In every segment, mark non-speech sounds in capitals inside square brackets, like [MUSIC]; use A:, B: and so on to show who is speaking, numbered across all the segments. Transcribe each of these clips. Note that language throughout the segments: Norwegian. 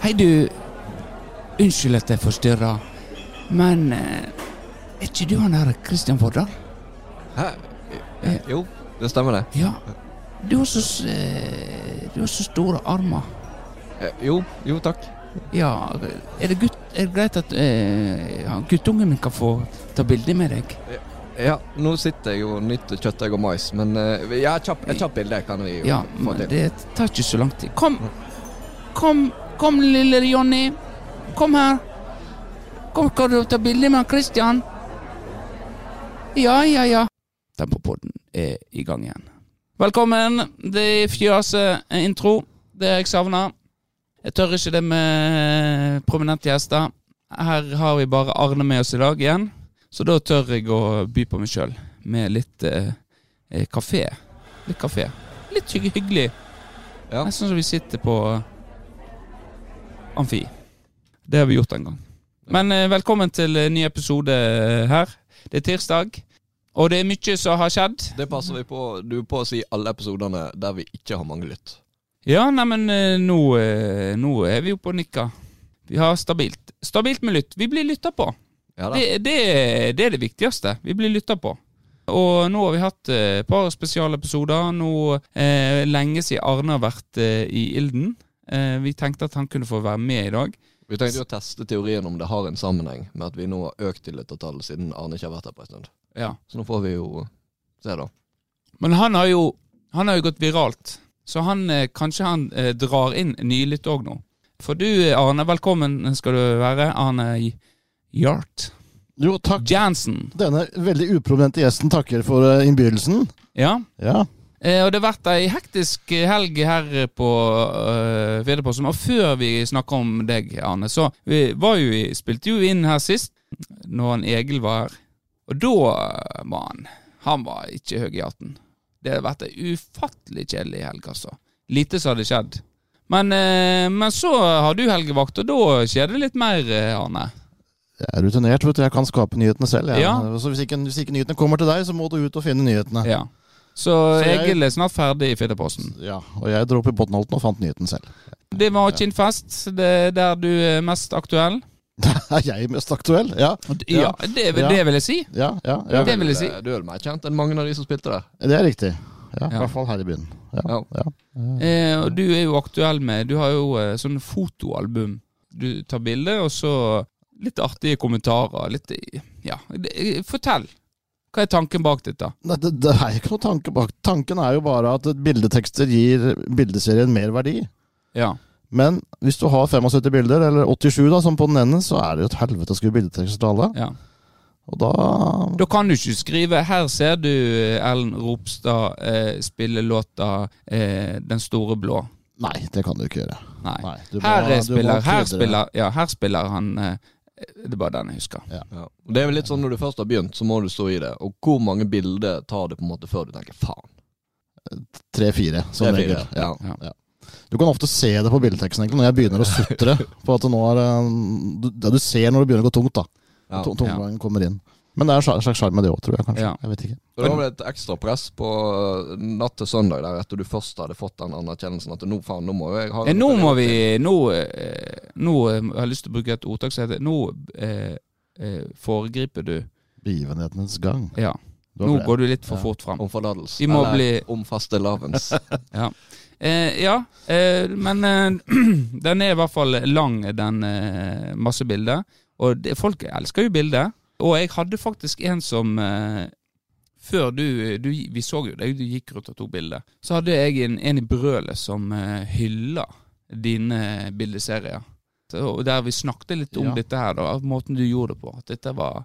A: Hei, du. Unnskyld at jeg forstyrrer, men eh, er ikke du han der Christian Vårdal?
B: Hæ? Eh, Jo, det stemmer det.
A: Ja. Du har så s- eh, Du har så store armer.
B: Eh, Jo, jo takk.
A: Ja, er det, gutt, er det greit at eh, ja, guttungen min kan få ta bilde med deg?
B: Ja, nå sitter jeg jo nytt kjøttdeig og mais, men eh, ja, et kjapt kjapp bilde kan vi jo
A: Ja,
B: få
A: men
B: til.
A: det tar ikke så lang tid. Kom! Kom, kom lille Jonny. Kom her. Kom, kan du ta bilde med han Christian? Ja, ja, ja. Tempopodden er i gang igjen. Velkommen. Det er fjase intro. Det har jeg savna. Jeg tør ikke det med prominente gjester. Her har vi bare Arne med oss i dag igjen, så da tør jeg å by på meg sjøl med litt eh, eh, kafé. Litt kafé. Litt hygg hyggelig.
B: Ja.
A: Nesten som vi sitter på eh, Amfi. Det har vi gjort en gang. Men eh, velkommen til en ny episode eh, her. Det er tirsdag, og det er mye som har skjedd.
B: Det passer vi på. Du er på å si alle episodene der vi ikke har mange lytt.
A: Ja, neimen nå, eh, nå er vi oppe og nikker. Vi har stabilt Stabilt med lytt. Vi blir lytta på.
B: Ja da.
A: Det, det, det er det viktigste. Vi blir lytta på. Og nå har vi hatt eh, et par spesialepisoder. Nå eh, lenge siden Arne har vært eh, i ilden. Eh, vi tenkte at han kunne få være med i dag.
B: Vi tenkte jo å teste teorien om det har en sammenheng med at vi nå har økt lyttertallet siden Arne ikke har vært her på en stund.
A: Ja.
B: Så nå får vi jo se, da.
A: Men han har jo, han har jo gått viralt, så han, eh, kanskje han eh, drar inn nylig òg nå. For du, eh, Arne, velkommen skal du være. Arne Hjart
C: Jo, takk.
A: Jansen.
C: Denne veldig uprominente gjesten takker for eh, innbydelsen.
A: Ja.
C: Ja.
A: Eh, og det har vært ei hektisk helg her på eh, Fedreposten. Og før vi snakker om deg, Arne, så vi var jo, i- spilte jo inn her sist, når han Egil var her. Og da eh, var han Han var ikke høy i hatten. Det har vært ei ufattelig kjedelig helg, altså. Lite som hadde skjedd. Men, eh, men så har du helgevakt, og da skjer det litt mer, eh, Arne.
C: Jeg er rutinert, vet du. Jeg kan skape nyhetene selv. jeg.
A: Ja.
C: Så hvis ikke, hvis ikke nyhetene kommer til deg, så må du ut og finne nyhetene.
A: Ja. Så,
C: Så jeg-
A: Egil er snart ferdig i Fedreposten.
C: Ja, Og jeg dro opp i Botnholten og fant nyheten selv. [LAUGHS]
A: Det var Kinnfest, det er der du er mest aktuell.
C: er jeg mest aktuell? Ja,
A: Ja, det,
C: Ja.
A: det vil jeg si.
C: ja, ja. ja.
A: Det vil jeg si.
B: Eh, Du er vel mer kjent enn mange av de som spilte der.
C: Det er riktig. Ja, I
A: Ja.
C: hvert fall her i byen.
B: Ja.
C: Ja, ja.
A: Eh, og du er jo aktuell med Du har jo eh, sånn fotoalbum. Du tar bilde, og så litt artige kommentarer. Litt i- Ja. Det- eh, Fortell. Hva er tanken bak dette?
C: Nei, Det, det er ikke noe tanke bak. Tanken er jo bare at bildetekster gir bildeserien mer verdi.
A: Ja.
C: Men hvis du har 75 bilder, eller 87 da, som på den ene, så er det jo et helvete å skrive bildetekster til alle.
A: ja.
C: Og da
A: Da kan du ikke skrive 'Her ser du eh, Ellen Ropstad eh, spille låta eh, 'Den store blå'.
C: Nei, det kan du ikke gjøre.
A: Nei.
C: Nei, du må-
A: Her, er
C: du må
A: spiller, her,
C: krydre.
A: spiller, ja, her spiller han eh, Det er bare den jeg husker.
B: Ja. Og Det er vel litt sånn når du først har begynt, så må du stå i det. Og hvor mange bilder tar det på en måte før du tenker faen?
C: Tre-fire, som
B: Det er
C: regel.
B: fire.
C: Ja.
A: Ja.
C: Du kan ofte se det på bildeteksten egentlig, når jeg begynner å
A: [LAUGHS]
C: sutre. på at nå er, eh, du, det du ser når det begynner å gå tungt, da.
B: Ja.
C: Tung- Tungvangen kommer inn. Men det er en slags sjarm med det òg, tror jeg kanskje.
A: Ja.
C: Jeg vet ikke.
B: Og det var vel et ekstra press på eh, natt til søndag, der etter du først hadde fått den anerkjennelsen at nå faen, nå må jeg ha
A: Eh, Nå må vi Nå, eh, nå eh, har jeg lyst til å bruke et ordtak som heter Nå eh, eh, foregriper du
C: Begivenhetenes gang.
A: Ja.
C: Du har
A: Nå
C: flere.
A: går du litt for
C: Ja.
A: fort fram.
B: Om forlatelse.
A: Vi må
B: Eller
A: bli-
B: om fastelavns.
A: [LAUGHS] Eh, ja, eh, men eh, [CLEARS THROAT] den er i hvert fall lang, den eh, masse bilder. Og det, folk elsker jo bilder. Og jeg hadde faktisk en som eh, Før du, du Vi så jo deg, du gikk rundt og tok bilder. Så hadde jeg en, en i brølet som eh, hylla dine bildeserier. Så, og der vi snakket litt om
C: Ja.
A: dette her, da. Måten du gjorde det på. At dette var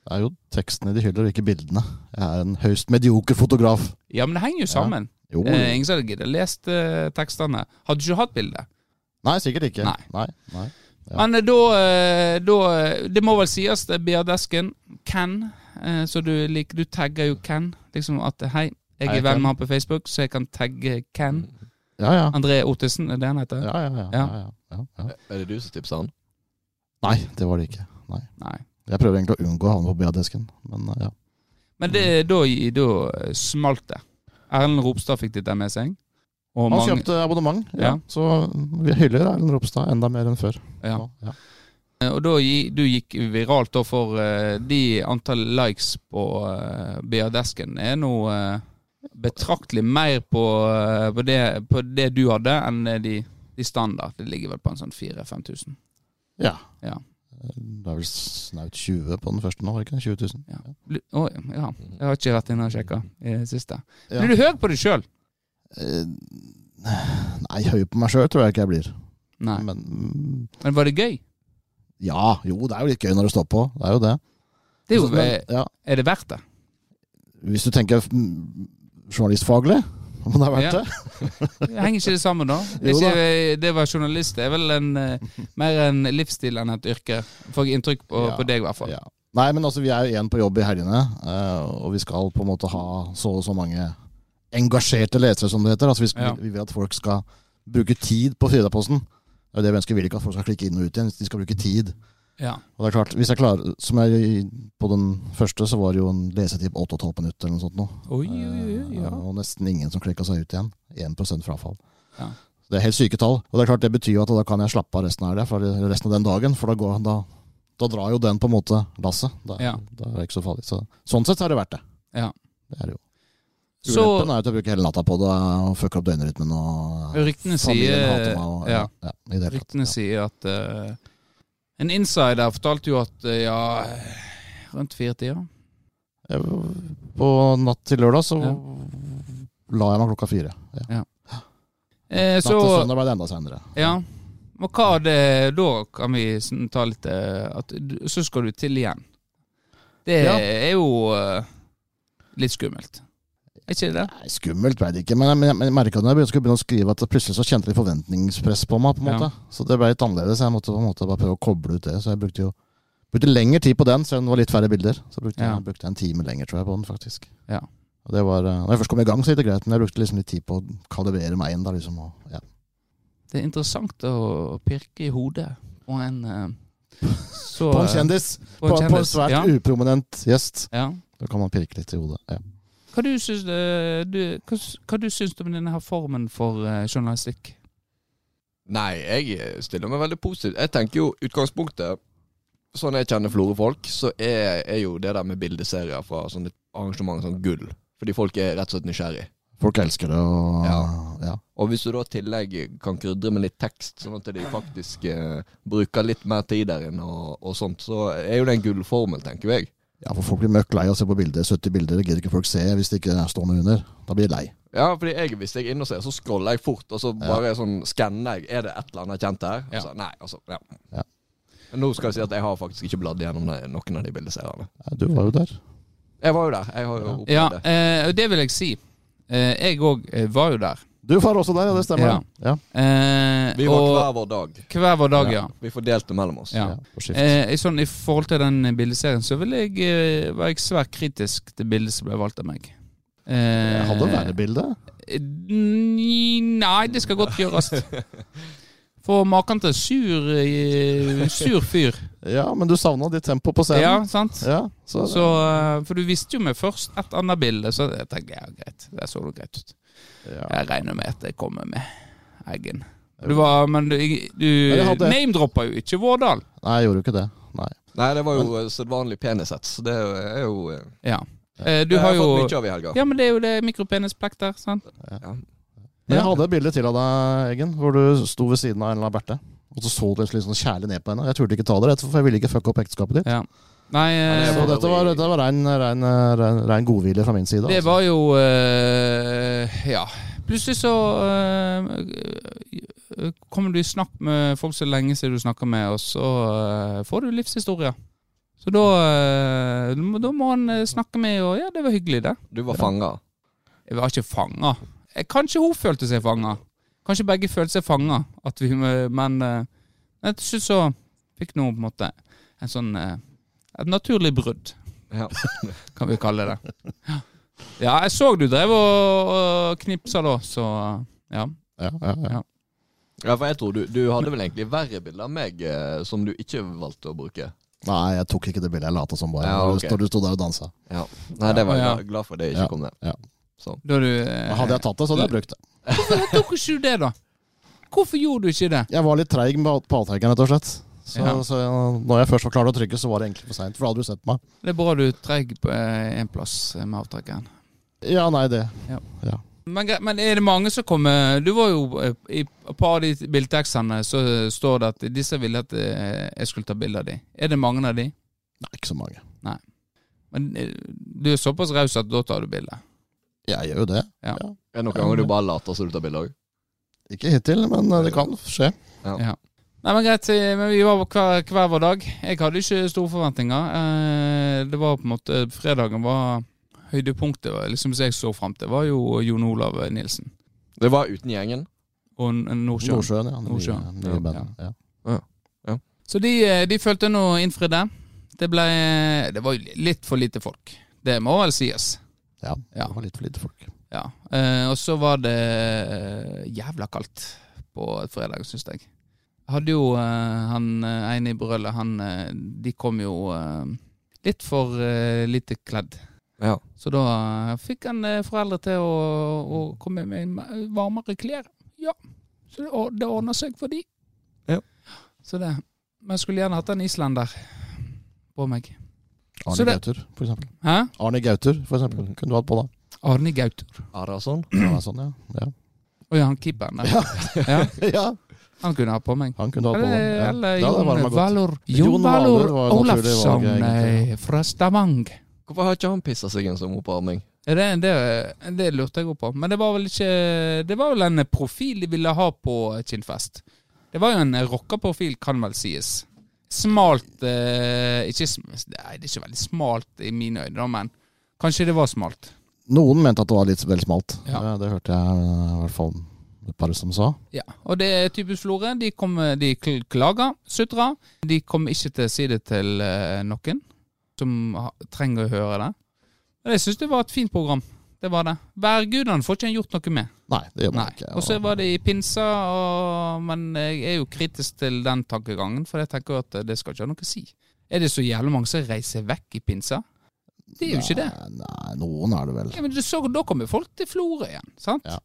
C: Det er jo tekstene de hyller, og ikke bildene. Jeg er en høyst medioker fotograf.
A: Ja, men det henger jo
C: Ja.
A: sammen.
C: Jo, jo.
A: Eh, ingen som hadde giddet lest eh, tekstene. Hadde ikke hatt bilde.
C: Nei, sikkert ikke.
A: Nei.
C: Nei. Nei. Ja.
A: Men eh, da, eh, da eh, Det må vel sies, det er Bea Desken. Ken. eh, Så du liker Du tagger jo Ken. Liksom at eh, Hei, jeg
C: Hei,
A: er venn
C: Ken.
A: med han på Facebook, så jeg kan tagge Ken.
C: Ja, ja.
A: André Ottesen, er det han heter?
C: Ja, ja, ja, ja, ja, ja, ja.
B: Er det du som tipser han?
C: Nei, det var det ikke. Nei.
A: Nei.
C: Jeg prøver egentlig å unngå å havne på BA-desken, men eh, ja. Mm.
A: eh, Men det, da, da smalt det. Erlend Ropstad fikk dette med seg. Og
C: Han
A: mange-
C: kjøpte abonnement,
A: Ja.
C: ja. så vi hyller Erlend Ropstad enda mer enn før.
A: ja.
C: Nå, ja.
A: Eh, Og da gi- du gikk viralt da for eh, de antall likes på uh, BA-desken er nå eh, betraktelig mer på, eh, på, det, på det du hadde, enn eh, de, de standard. Det ligger vel på en sånn 4000-5000.
C: Ja.
A: Ja.
C: Det er vel snaut 20 på den første nå, var det ikke? 20 000.
A: Bli- Å ja, jeg har ikke vært inne og sjekka i det siste.
C: Ja.
A: Blir du høy på deg sjøl?
C: Eh, Nei, høy på meg sjøl tror jeg ikke jeg blir.
A: Nei.
C: Men mm,
A: Men var det gøy?
C: ja, jo, det er jo litt gøy når det står på. Det er jo det.
A: Det er, jo,
C: Så, men,
A: eh,
C: ja,
A: er det verdt det?
C: hvis du tenker mm, journalistfaglig, [LAUGHS] om det er verdt
A: Ja.
C: det.
A: Henger ikke det sammen, da?
C: [LAUGHS] Jo da.
A: Ikke, eh, det var journalist. Det er vel en, eh, mer en livsstil enn et yrke, får jeg inntrykk på,
C: Ja.
A: på deg, i hvert fall.
C: Ja. Nei, men altså, vi er jo igjen på jobb i helgene, eh, og vi skal på en måte ha så og så mange engasjerte lesere, som det heter. Altså, vi, skal,
A: Ja.
C: vi vil at folk skal bruke tid på Fridaposten. Det er jo det vi ønsker. Vi vil ikke at folk skal klikke inn og ut igjen, de skal bruke tid.
A: Ja.
C: Og det er klart, hvis jeg klarer, som jeg, På den første så var det jo en lesetid på 8,5 minutter eller noe sånt. Nå.
A: Oi, oi, oi, ja.
C: Eh, Og nesten ingen som klikka seg ut igjen. 1 frafall.
A: Ja.
C: Så Det er helt syke tall. Og det er klart det betyr jo at da kan jeg slappe av resten av, det, for resten av den dagen. For da, går, da, da drar jo den på en måte lasset. Da,
A: Ja.
C: da er det ikke så farlig. Så, sånn sett har det vært det.
A: Ja.
C: Det er det jo.
A: Så
C: Ulempen er jo at jeg bruker hele natta på det og fucker opp døgnrytmen. Og
A: ryktene
C: familien
A: sier
C: hater meg. Og,
A: ja,
C: ja, i det hele tatt.
A: Ryktene sier at eh, En insider fortalte jo at eh, ja Rundt fire tider.
C: Jeg, på natt til lørdag så
A: Ja.
C: la jeg meg klokka fire. Ja.
A: Eh,
C: Natt til
A: så
C: søndag ble det enda senere.
A: Ja. Og hva er det da kan vi sn- ta litt eh, at, du- Så skal du til igjen. Det
C: Ja.
A: er jo eh, litt skummelt. Er ikke det det?
C: Nei, skummelt ble det ikke, men jeg, men jeg, men jeg merket når jeg begynte, skulle begynne å skrive at det plutselig så kjente jeg litt forventningspress på meg. på en
A: Ja.
C: måte. Så det ble litt annerledes. Jeg måtte på en måte bare prøve å koble ut det. Så jeg brukte jo brukte lengre tid på den, selv om det var litt færre bilder. Så brukte
A: Ja.
C: jeg, brukte jeg en time lenger tror jeg, på den, faktisk.
A: Ja.
C: Og det var, eh, når jeg først kom i gang, så gikk det greit, men jeg brukte liksom litt tid på å kalibrere meg inn. da liksom. Og, ja.
A: Det er interessant å pirke i hodet på en eh, så
C: På en kjendis! På, på, en
A: kjendis.
C: svært
A: Ja.
C: uprominent gjest.
A: ja.
C: Da kan man pirke litt i hodet. Ja.
A: Hva du syns eh, du, hva, s- hva du syns om denne her formen for eh, journalistikk?
B: Nei, jeg stiller meg veldig positivt. Jeg tenker jo utgangspunktet Sånn jeg kjenner Florø-folk, så er, er jo det der med bildeserier fra sånne arrangementer sånn gull. Fordi folk er rett og slett nysgjerrig.
C: Folk elsker det. og... Ja.
B: Og hvis du da i tillegg kan krydre med litt tekst, sånn at de faktisk eh, bruker litt mer tid der inne og, og sånt, så er jo det en gullformel, tenker jeg.
C: Ja, for folk blir møkk lei av å se på bilder. 70 bilder det gidder ikke folk se hvis det ikke står noe under. Da blir de lei.
B: Ja, fordi jeg, hvis jeg er inne og ser, så scroller jeg fort, og så bare sånn skanner jeg. Er det et eller annet kjent her?
A: Ja.
B: Altså, nei, altså, ja.
C: Ja.
B: Men Nå skal jeg si at jeg har faktisk ikke bladd gjennom det- noen av de bildeseriene.
C: Ja, du var jo der.
B: Jeg var jo der. Jeg har jo opplevd
A: Ja,
B: det.
A: eh, og det vil jeg si. Eh, jeg òg var jo der.
C: Du var også der, ja, det stemmer.
A: Ja.
C: Ja.
A: Eh,
B: Vi var
A: og
B: hver vår dag.
A: hver vår dag, ja.
B: Vi fordelte mellom oss.
A: ja.
C: Ja, på skift.
A: Eh, i sånn, I forhold til den bildeserien så vil jeg, eh, var jeg svært kritisk til bildet som ble valgt av meg. Eh,
C: Jeg hadde verre bilde.
A: n- Nei, det skal godt gjøres.
B: [LAUGHS]
A: For maken til sur, eh, sur fyr.
C: Ja, men du savna ditt tempo på scenen. Ja.
A: Ja, sant?
C: så,
A: Så, eh, for du visste jo med først et annet bilde, så jeg tenkte ja, greit. Det så jo greit ut.
C: ja.
A: Jeg regner med at jeg kommer med Eggen. Du var, men du, du
C: jeg hadde-
A: name-droppa jo ikke Vårdal.
C: Nei, jeg gjorde jo ikke det. Nei.
B: Nei, det var jo eh, sedvanlig penishets. Det er jo eh,
A: Ja. Eh, Du
B: jeg
A: har
B: har
A: jo
B: fått mye av i helga.
A: Ja, men det er jo det mikropenispekter, sant?
B: Ja.
C: Men jeg
A: Ja.
C: hadde et bilde til av deg, Eggen, hvor du sto ved siden av en eller annen Berthe. Og så så du litt sånn kjærlig ned på henne. Jeg turte ikke ta det, rett og slett, for jeg ville ikke fucke opp ekteskapet ditt.
A: Ja. Nei,
B: Ja,
A: eh,
C: Så dette var, dette var rein, rein, rein, rein godvilje fra min side.
A: det
C: Altså.
A: var jo eh, Ja. Plutselig så eh, kommer du i snakk med folk så lenge siden du snakker med, og så eh, får du livshistorier. Så da, eh, da må- da må han eh, snakke med, og ja, det var hyggelig, det.
B: Du var fanga.
A: Jeg var ikke fanga. Eh, Kanskje hun følte seg fanga. Kanskje begge følte seg fanga. At vi, men eh, men til slutt så fikk noen på en måte en sånn eh, Et naturlig brudd,
B: Ja.
A: kan vi kalle det. Ja, ja jeg så du drev og, og knipsa da, så ja.
C: Ja, ja, ja.
B: ja, for jeg tror du, du hadde vel egentlig verre bilder av meg eh, som du ikke valgte å bruke.
C: Nei, jeg tok ikke det bildet. Jeg lata som bare.
B: Ja,
C: når du-
B: ok.
C: Når du sto der og dansa.
B: Ja. Nei, det var jeg
A: Ja.
B: glad- glad for det ikke kom med.
C: Ja.
B: Sånn.
A: Da du eh,
C: Hadde jeg tatt det, så hadde jeg brukt det.
A: Hvorfor tok ikke du det, da? Hvorfor gjorde du ikke det?
C: Jeg var litt treig med på avtrekkeren, rett og slett. Så,
A: Ja.
C: så jeg- når jeg først var klar til å trykke, så var det egentlig for seint. For da hadde du sett meg.
A: Det er bra du er treig på eh, en plass eh, med avtrekkeren.
C: Ja, nei, det.
A: Men, gre- men er det mange som kommer Du var jo eh, i et par av de bildetekstene så eh, står det at disse ville at eh, jeg skulle ta bilde av de. Er det mange av de?
C: Nei, ikke så mange.
A: Men eh, du er såpass raus at da tar du bilde.
C: Jeg gjør jo det.
B: Er det noen ganger du bare later som du tar bilde òg?
C: Ikke hittil, men eh, det kan skje.
A: Nei, men greit, eh, men vi var på hver, hver vår dag. Jeg hadde ikke store forventninger. Eh, Det var på en måte Fredagen var høydepunktet, liksom som jeg så fram til, var jo Jon Olav Nilsen
B: Det var uten gjengen.
A: og N- Nordsjøen.
C: Nordsjøen, ja.
A: Nordsjøen.
C: Nye, nye
A: Ja.
C: band, ja.
A: Så de, eh, de følte nå innfridde. Det ble eh, Det var jo litt for lite folk. Det må vel sies.
C: Ja,
A: Ja.
C: Det var litt for lite folk.
A: Ja. Eh, Og så var det eh, jævla kaldt på fredag, syns jeg. Jeg Hadde jo eh, han eh, ene i brølet, han eh, De kom jo eh, litt for eh, lite kledd.
B: Ja.
A: Så da eh, fikk han eh, foreldre til å, å komme med ma- varmere klær. Ja. Så det, or- det ordna seg for de.
B: Ja.
A: Så det. Men jeg skulle gjerne hatt en islender på meg. Så
C: Arne
A: det- Mm.
C: Gauter, for eksempel.
A: Hæ?
C: Arne Gauter, for eksempel. Kunne du hatt på da?
A: Arne Gauter.
B: Arason.
C: Ja, sånn, ja. [LAUGHS]
A: Å ja, han keeperen der.
C: Ja. ja,
A: Han kunne ha på meg.
C: han kunne du hatt på da.
A: Eller,
C: Ja.
A: eller
C: Ja, det
A: Jon
C: var meg godt.
A: Valor
C: Jon
A: Jon
C: Valor
A: Valor
C: var et naturlig valg,
A: Olafsson
C: egentlig.
A: eh, fra Stavanger.
B: Hvorfor har ikke han pissa seg en som opparming?
A: Er Det, det, det lurte jeg òg på. Men det var vel ikke Det var vel en profil de ville ha på Kinnfest. Det var jo en rockeprofil, kan vel sies. Smalt eh, ikke, sm- Nei, det er ikke veldig smalt i mine øyne, da, men kanskje det var smalt.
C: Noen mente at det var litt vel smalt.
A: Ja.
C: Det, det hørte jeg eh, i hvert fall et par som sa.
A: Ja, og det er typisk Florø. De, kom- de kl- klager, sutrer. De kommer ikke til å si det til eh, noen som ha- trenger å høre det. Men jeg syns det var et fint program. Det var det. Værgudene får ikke en gjort noe med.
C: Nei, det gjør man
A: Nei.
C: ikke.
A: Og så var det i pinsa, og, men jeg er jo kritisk til den tankegangen, for jeg tenker jo at eh, det skal ikke ha noe å si. Er det så jævlig mange som reiser vekk i pinsa? Det er jo ikke det.
C: Nei, nei, noen er det vel.
A: Ja, men du så, da kommer folk til Florø igjen, sant?
C: Ja.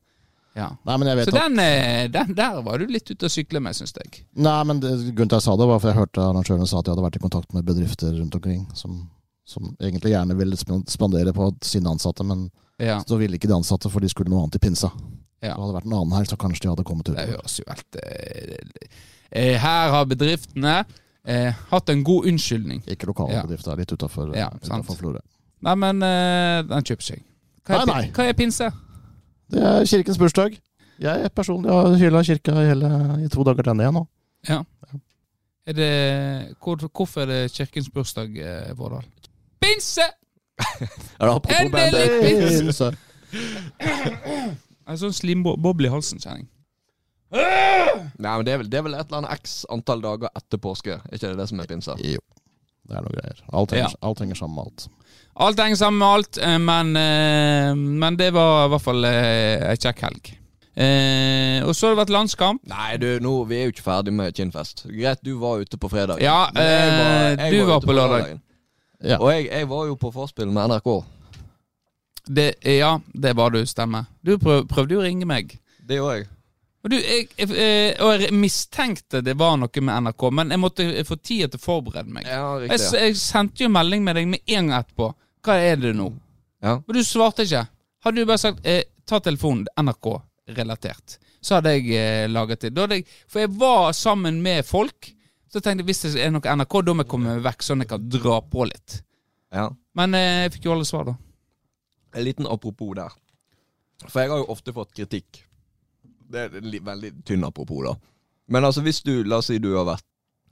A: ja.
C: Nei, men jeg vet
A: Så den, eh, den der var du litt ute å sykle med, syns jeg.
C: at Nei, men det, Grunnen til at jeg sa det, var for jeg hørte arrangørene sa at de hadde vært i kontakt med bedrifter rundt omkring som, som egentlig gjerne ville spen- spandere på sine ansatte, men
A: Ja,
C: så ville ikke de ansatte, for de skulle noe annet i pinsa.
A: Ja.
C: Det hadde vært en annen her, så kanskje de hadde kommet ut.
A: det høres jo helt eh, eh, Her har bedriftene eh, hatt en god unnskyldning.
C: Ikke lokale
A: Ja.
C: bedrifter, litt utafor
A: Ja, sant.
C: Florø.
A: Nei, men eh, den kjøper seg. Hva er,
C: Nei,
A: pin-
C: nei.
A: Hva er pinse?
C: Det er kirkens bursdag. Jeg personlig har hylla kirka i, hele, i to dager til ende igjen nå.
A: Er det, hvor, hvorfor er det kirkens bursdag, eh, Vårdal? Pinse!
B: Er det apropos
A: Endelig!
B: bandet?
A: Hey,
C: Så-
A: En sånn slimboble i halsen, kjenner jeg.
B: Nei, men det er, vel, det er vel et eller annet x antall dager etter påske. Er ikke det det som er pinsa?
C: Jo, det er noe greier. Alt henger, alt henger sammen med alt.
A: Alt henger sammen med alt, eh, men, eh, men det var i hvert fall eh, ei kjekk helg. Eh, og så har det vært landskamp.
B: Nei, du, nå, vi er jo ikke ferdig med Kinnfest. Greit, du var ute på fredag.
A: Ja,
B: Men jeg var-
A: eh,
B: jeg
A: du var
B: ute
A: på lørdag.
B: lørdagen.
C: Ja.
B: Og jeg, jeg var jo på forspill med NRK.
A: Det, ja, det var du, stemmer. Du prøv, prøvde jo å ringe meg.
B: Det gjorde jeg.
A: Og, du, jeg, jeg, eh, og jeg mistenkte det var noe med NRK, men jeg måtte få tid til å forberede meg.
B: Ja,
A: Jeg, s-
B: riktig.
A: jeg sendte jo melding med deg med en gang etterpå. Hva er det nå?
B: Ja.
A: Og du svarte ikke. Hadde du bare sagt eh, 'ta telefonen NRK-relatert', så hadde jeg eh, laget det. Da hadde jeg, for jeg var sammen med folk. Så tenkte jeg hvis det er noe NRK, da må jeg komme meg vekk, sånn at jeg kan dra på litt.
B: ja.
A: Men eh, jeg fikk jo alle svar, da.
B: En liten apropos der. For jeg har jo ofte fått kritikk. Det er en li- veldig tynn apropos, da. Men altså, hvis du, la oss si du har vært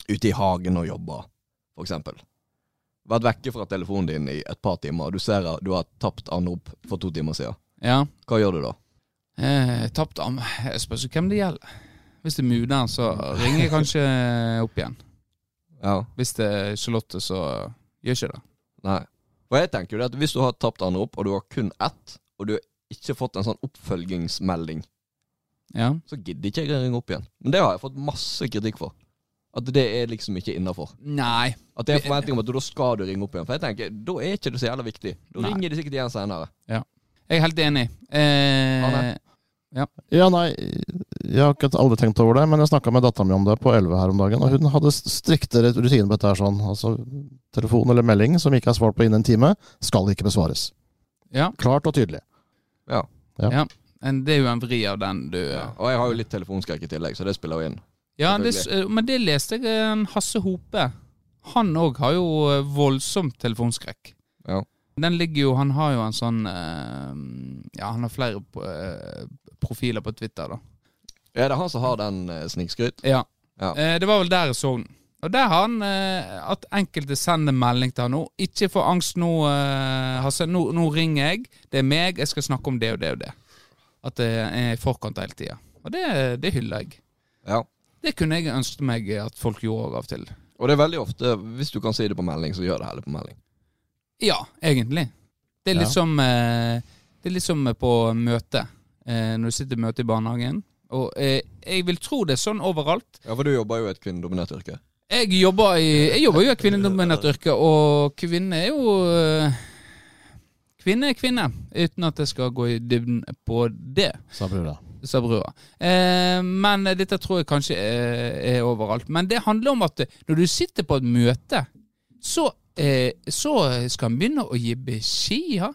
B: ute i hagen og jobba, for eksempel. Vært vekke fra telefonen din i et par timer, og du ser at du har tapt anrop for to timer siden.
A: Ja.
B: Hva gjør du da?
A: Eh, Tapt am. Jeg spørs jo hvem det gjelder. Hvis det er muderen, så ringer jeg kanskje opp igjen.
B: Ja,
A: Hvis det er Charlotte, så gjør ikke det.
B: nei. For jeg tenker jo det at hvis du har tapt anrop, og du har kun ett, og du har ikke fått en sånn oppfølgingsmelding,
A: Ja.
B: så gidder ikke jeg å ringe opp igjen. Men det har jeg fått masse kritikk for. At det er liksom ikke innafor.
A: Nei.
B: At det er en forventning om at da skal du ringe opp igjen. For jeg tenker, da er ikke det så jævla viktig. Da
A: Nei.
B: ringer de sikkert igjen senere.
A: Jeg er helt enig. Eh,
B: Ha det.
C: Ja, nei, jeg har ikke aldri tenkt over det, men jeg snakka med dattera mi om det på 11 her om dagen, og hun hadde strikte rutiner på dette her sånn. Altså, telefon eller melding som ikke er svart på innen en time, skal ikke besvares.
A: Ja.
C: Klart og tydelig.
B: Ja.
A: En- Det er jo en vri av den du
B: ja. Og jeg har jo litt telefonskrekk i tillegg, så det spiller jo inn.
A: Ja, det, s- men det leste jeg en Hasse Hope. Han òg har jo eh, voldsom telefonskrekk.
B: Ja.
A: Den ligger jo Han har jo en sånn eh, Ja, han har flere eh, profiler på Twitter, da.
B: Er det han som har den eh, snikskryt?
A: Ja.
B: Ja.
A: Eh, det var vel der jeg så den. Og der har han eh, at enkelte sender melding til han nå. Ikke få angst nå, eh, Hasse. Nå, nå ringer jeg. Det er meg. Jeg skal snakke om det og det og det. At det er i forkant hele tida. Og det, det hyller jeg.
B: Ja.
A: Det kunne jeg ønske meg at folk gjorde av og til.
B: Og det er veldig ofte, hvis du kan si det på melding, så gjør det heller på melding.
A: Ja, egentlig. Det er litt
C: Ja.
A: som eh, Det er litt som på møte. Eh, når du sitter i møte i barnehagen. Og eh, jeg vil tro det er sånn overalt.
B: Ja, for du jobber jo i et kvinnedominert yrke.
A: Jeg jobber, i, jeg jobber jo i et kvinnedominert yrke, og kvinne er jo øh, Kvinne er kvinne, uten at jeg skal gå i dybden på det,
C: Sa brura.
A: sa brua. Eh, men dette tror jeg kanskje er, er overalt. Men det handler om at eh, når du sitter på et møte, så, eh, så skal en begynne å gi beskjeder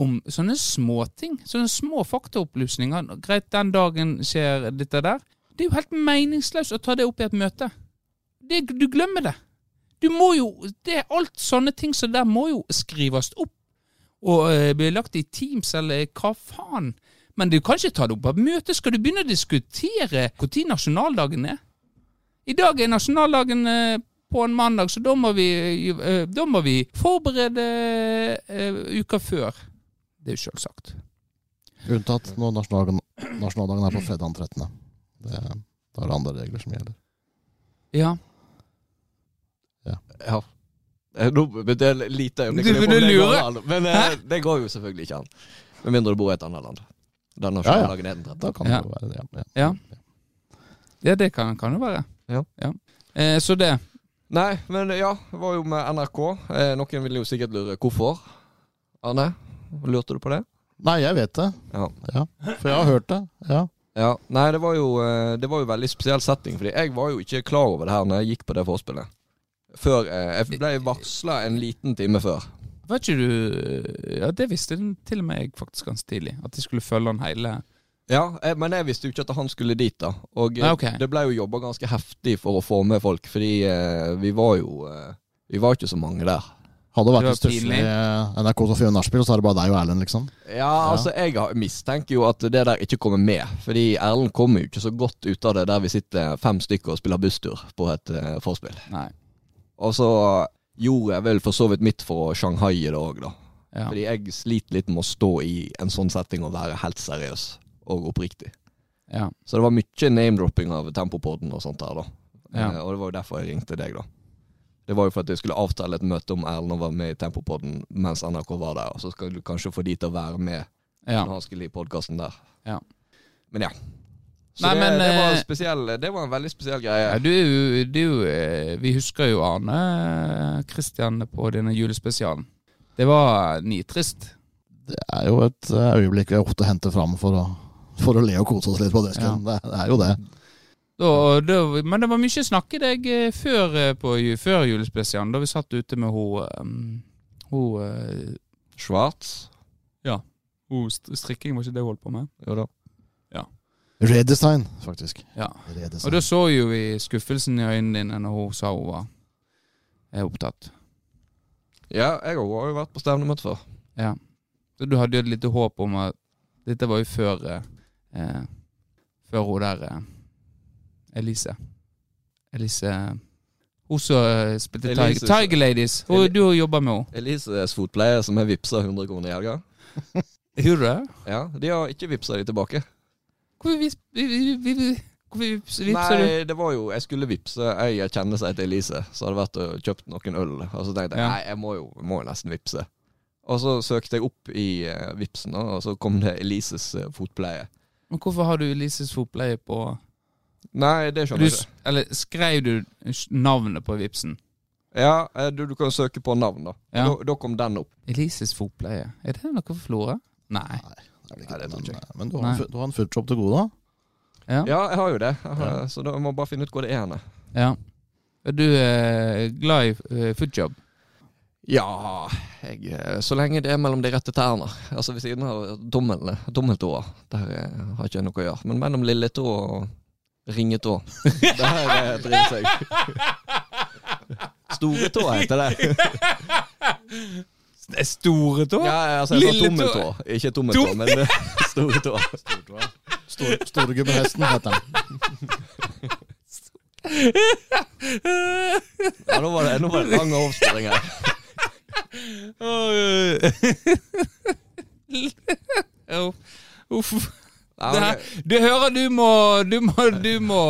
A: om sånne småting. Sånne små faktaopplysninger. Greit, den dagen skjer dette der. Det er jo helt meningsløst å ta det opp i et møte. Det, du glemmer det. Du må jo det er Alt sånne ting som der må jo skrives opp. Og eh, bli lagt i Teams, eller hva faen. Men du kan ikke ta det opp på et møte. Skal du begynne å diskutere når nasjonaldagen er? I dag er nasjonaldagen eh, på en mandag, så da må vi, eh, da må vi forberede eh, uka før. Det er jo selvsagt.
C: Unntatt når nasjonaldagen, nasjonaldagen er på fredag den 13. Det, da er det andre regler som gjelder.
A: Ja.
B: Ja. Eh, Nå begynte jeg et lite øyeblikk.
A: Du
B: på om
A: begynner
B: det
A: å
B: går
A: lure.
B: an, Men eh, det går jo selvfølgelig ikke an. Med mindre du bor i et annet land. Den
C: Ja, ja.
B: nasjonaldagen er den 13.
C: Da kan det
A: Ja.
C: jo være det.
A: Ja. Ja, det kan, kan jo være.
B: Ja.
A: Eh, så det.
B: Nei, men ja, det var jo med NRK. Eh, noen ville jo sikkert lure hvorfor. Arne, lurte du på det?
C: Nei, jeg vet det.
B: Ja.
C: For jeg har hørt det. Ja.
B: Ja, Nei, det var jo, eh, det var jo veldig spesiell setting, fordi jeg var jo ikke klar over det her når jeg gikk på det forspillet. Før eh, Jeg ble varsla en liten time før.
A: Vet ikke du Ja, det visste den til og med jeg faktisk ganske tidlig. At jeg skulle følge den hele
B: Ja, eh, men jeg visste jo ikke at han skulle dit, da. Og eh,
A: Nei, ok.
B: det ble jo jobba ganske heftig for å få med folk, fordi eh, vi var jo eh, Vi var ikke så mange der.
C: Hadde det vært
A: Det var
C: en stusslig
A: pinlig.
C: eh, NRK Sofie Nachspiel, så er det bare deg og Erlend, liksom.
B: Ja, altså, jeg har- mistenker jo at det der ikke kommer med. Fordi Erlend kommer jo ikke så godt ut av det der vi sitter fem stykker og spiller busstur på et eh, forspill.
A: Nei.
B: Og så eh, gjorde jeg vel for så vidt mitt for å shanghaie det òg, da.
A: Ja.
B: Fordi jeg sliter litt med å stå i en sånn setting og være helt seriøs og oppriktig.
A: ja.
B: Så det var mye name-dropping av Tempopodden og sånt her, da.
A: Ja.
B: Eh, og det var jo derfor jeg ringte deg, da. Det var jo for at jeg skulle avtale et møte om Erlend og være med i Tempopodden mens NRK var der, og så skal du kanskje få de til å være med
A: ja.
B: når han skulle i podkasten der.
A: Ja.
B: Men ja. Så
A: Nei,
B: det,
A: men,
B: det, var
A: eh,
B: en spesiell, det var en veldig spesiell greie.
A: Ja, du, er jo- du, er jo, eh, vi husker jo Arne Kristian på denne julespesialen. Det var nitrist.
C: Det er jo et eh, øyeblikk vi ofte henter fram for å, for å le og kose oss litt på desken. Det, det er jo det.
A: Da, da, men det var mye snakk i deg eh, før, eh, på, ju- før julespesialen, da vi satt ute med hun um, Hun, eh,
B: Schwartz.
A: hun st- strikking, var ikke det hun holdt på med?
B: Jo da.
C: Redesign, faktisk.
A: Ja. Og
C: Redesign.
A: da så jo vi skuffelsen i øynene dine når hun sa hun var eh, opptatt.
B: Ja, jeg har jo vært på stevnemøte før.
A: Så du hadde jo et lite håp om at Dette var jo før eh, eh, Før hun der eh, Elise. Elise Hun som eh, spilte
B: Elise
A: Tiger,
B: som-
A: Tiger Ladies. Hun,
B: Eli-
A: du jobba med henne.
B: Elises fotpleier som har vippsa 100 kroner i helga.
A: Gjorde du det?
B: Ja, de har ikke vippsa de tilbake.
A: Hvorfor vis- vi- vi- vi- vi- hvorfor vips- vipser du?
B: Nei, det var jo Jeg skulle vippse ei jeg kjenner seg til Elise, som hadde vært og kjøpt noen øl. Og så tenkte jeg
A: Ja.
B: nei, jeg må jo, må jo nesten vippse. Og så søkte jeg opp i eh, Vipsen, da, og så kom det Elises eh, fotpleie.
A: Men hvorfor har du Elises fotpleie på
B: Nei,
A: du,
B: det skjønner jeg
A: s-
B: ikke.
A: Eller skrev du s- navnet på vipsen?
B: Ja, eh, du, du kan søke på navn, da.
A: Ja.
B: da. Da kom den opp.
A: Elises fotpleie, er det noe for Flora? Nei.
C: Det er vel
B: Nei,
C: ikke
B: det
C: det,
B: tror jeg
C: men, men du, har
A: Nei.
C: en, fu- du har en foodshop til gode, da?
A: Ja.
B: Ja, jeg har jo det. Jeg har- Så da må jeg bare finne ut hvor det er henne.
A: Ja. Er du eh, glad i eh, foodjob?
B: Ja, jeg, eh, så lenge det er mellom de rette tærne. Altså ved siden av dommel- dommeltåa. Der eh, har ikke jeg noe å gjøre. Men mellom lilletå og ringetå. [LAUGHS] Der eh, driver jeg. [LAUGHS] Storetå heter det.
A: Store tå?
B: [LAUGHS] Ja, altså jeg sa
A: Lilletå.
B: tommeltå. Ikke tommeltå,
A: Tom-
B: men eh, [LAUGHS] storetå.
C: Stor, Storegubbehesten heter den.
B: Ja, nå var det, nå var det lang avsporing her.
A: [LAUGHS] Uff.
B: Ja,
A: Det
B: men,
A: her,
B: eh,
A: du hører du må Du må Du må,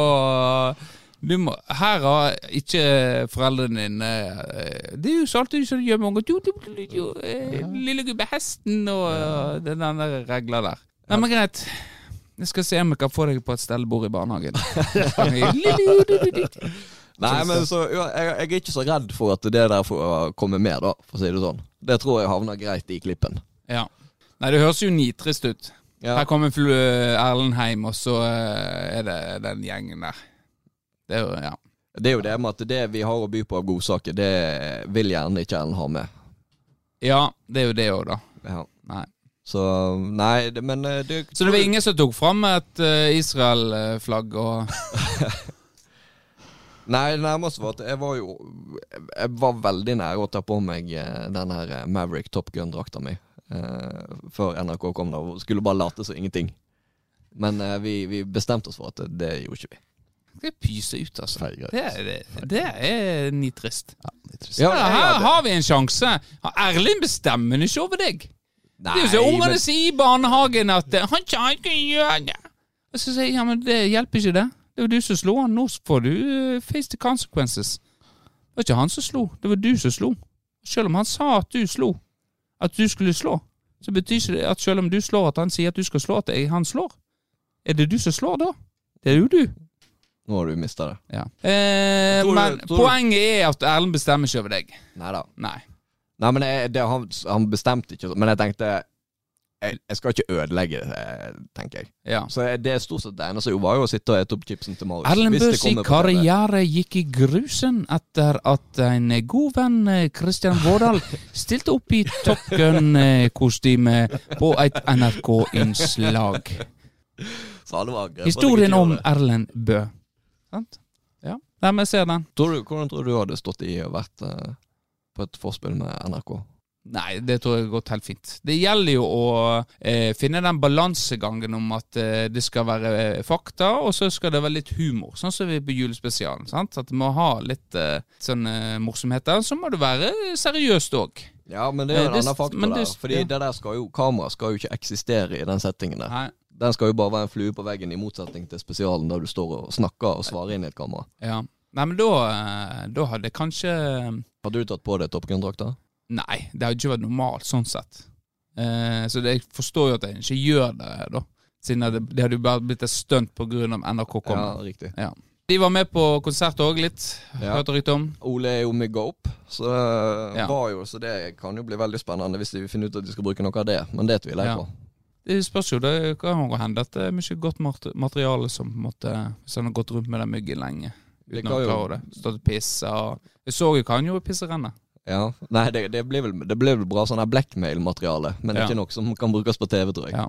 A: du må Her har ikke foreldrene dine eh, Det er jo alltid som gjør mange jo, jo, jo, jo, eh, Lille gubbe hesten og eh, den der regla der. Nei, men greit. Jeg skal se om jeg kan få deg på et stellebord i
B: [LAUGHS]
A: barnehagen.
B: Nei, men så, ja, jeg, jeg er ikke så redd for at det der får komme med, da, for å si det sånn. Det tror jeg havner greit i klippen.
A: Ja. Nei, det høres jo nitrist ut.
B: Ja.
A: Her kommer flu Erlend hjem, og så eh, er det den gjengen der. Det er jo, ja.
B: Det er jo det med at det vi har å by på av godsaker, det vil gjerne ikke Ellen ha med.
A: ja, det er jo det òg, da.
B: Ja.
A: Nei.
B: Så nei, det, men eh, det,
A: Så det var ingen som tok fram et eh, Israel-flagg og
B: Nei, det nærmeste var at jeg var jo Jeg var veldig nære å ta på meg eh, den her eh, Maverick Top Gun-drakta mi eh, før NRK kom da, og skulle bare late som ingenting. Men eh, vi, vi bestemte oss for at det gjorde ikke vi.
A: Skal jeg pyse ut, altså?
C: Feige
A: Det er, det, det er nitrist.
C: Ja, interessant.
A: Ja,
B: Ja, jeg
A: her
B: hadde-
A: har vi en sjanse. Har Erlend bestemmer ikke over deg. Det er jo så
B: Nei,
A: ungene
B: men-
A: sier i barnehagen at eh, 'Han kan ikke gjøre det'. Og så sier jeg ja, men det hjelper ikke det. Det var du som slo han. Nå får du eh, face the consequences. Det var ikke han som slo, det var du som slo. Selv om han sa at du slo, at du skulle slå, så betyr ikke det at selv om du slår at han sier at du skal slå, at jeg- han slår. Er det du som slår da? Det er jo du.
B: Nå har du mista det.
A: Ja. Eh,
B: Tror du-
A: men
B: tror du-
A: poenget er at Erlend bestemmer ikke over deg.
B: Nei da.
A: Nei.
B: Nei, men jeg, det, han, han bestemte ikke, men jeg tenkte jeg, jeg skal ikke ødelegge det, eh, tenker jeg.
A: Ja.
B: Så jeg- det er stort sett det eneste jeg gjorde, var jo å sitte og ete opp chipsen til Marius.
A: Erlend
B: hvis det
A: Bøs
B: kommer på TV.
A: karriere gikk i grusen etter at en god venn, eh, Christian Vårdal,
B: [LAUGHS]
A: stilte opp i Top Gun-kostyme på et NRK-innslag.
B: Så alle var grepet,
A: Historien
B: ikke
A: om
B: gjorde det.
A: Erlend Bø. Sant? Ja. Nei, men jeg ser den.
B: tror du, Hvordan tror du du hadde stått i og vært eh, på et forspill med NRK?
A: Nei, det tror jeg har gått helt fint. Det gjelder jo å eh, finne den balansegangen om at eh, det skal være eh, fakta, og så skal det være litt humor. Sånn som vi er på julespesialen. sant? At det må ha litt eh, sånn eh, morsomheter. Så må det være seriøst òg.
B: Ja, men det er
A: Eh,
B: jo en
A: det-
B: annen faktor
A: men
B: der.
A: det-
B: Fordi
A: ja.
B: det der skal jo, kamera skal jo ikke eksistere i den settingen der. Den skal jo bare være en flue på veggen, i motsetning til spesialen der du står og snakker og svarer inn i et kamera.
A: Ja. Nei, men da, eh, da hadde jeg kanskje
B: Hadde du tatt på deg Top Gun-drakta?
A: Nei, det hadde ikke vært normalt sånn sett. Eh, så det, jeg forstår jo at jeg ikke gjør det, da. Siden det, det hadde jo bare blitt et stunt pga. NRK
B: Ja,
A: kommer.
B: riktig.
A: De var med på konsert òg, litt.
B: Ja.
A: Hørte rykte om.
B: Ole er jo mygga opp, så det,
A: Ja.
B: var jo, så det kan jo bli veldig spennende hvis de finner ut at de skal bruke noe av det, men det tviler jeg
A: Ja.
B: på.
A: Det spørs jo, det kan jo hende at det er mye godt mat- materiale som på en måte Hvis han har gått rundt med den myggen lenge.
B: Det
A: Uten
B: kan
A: å
B: jo-
A: klare det. Stått og pissa og Jeg så jo hva han gjorde i pisserennet.
B: Ja. Nei, det, det, blir vel, det blir vel bra sånn her blackmail-materiale, men
A: Ja.
B: ikke nok som kan brukes på TV, tror jeg.
A: Ja.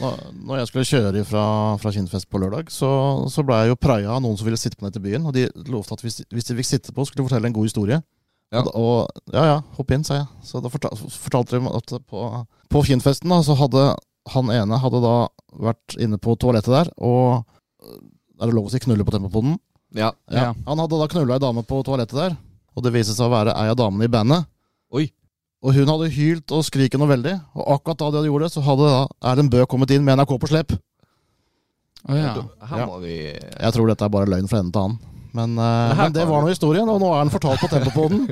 C: Nå- Når jeg skulle kjøre fra, fra Kinnfest på lørdag, så, så ble jeg jo praia av noen som ville sitte på ned til byen. Og de lovte at hvis, de- hvis de fikk sitte på, skulle de fortelle en god historie.
B: Ja.
C: Og, da- og ja ja, hopp inn, sa jeg. Så da fortal, fortalte de at på, på Kinnfesten da, så hadde han ene hadde da vært inne på toalettet der, og er det lov å si knulle på tempopoden?
B: Ja.
A: Ja.
C: Han hadde da knulla ei dame på toalettet der, og det viste seg å være ei av damene i bandet.
B: Oi.
C: Og hun hadde hylt og skriket noe veldig, og akkurat da de hadde gjort det, så hadde da Erlend Bøe kommet inn med NRK på slep.
A: Å ja.
B: Her
C: Ja.
B: må vi
C: Jeg tror dette er bare løgn fra ende til annen. Men, eh,
B: Det her
C: men det
B: kan
C: var
B: du-
C: nå historien, og nå er den fortalt på Tempopoden.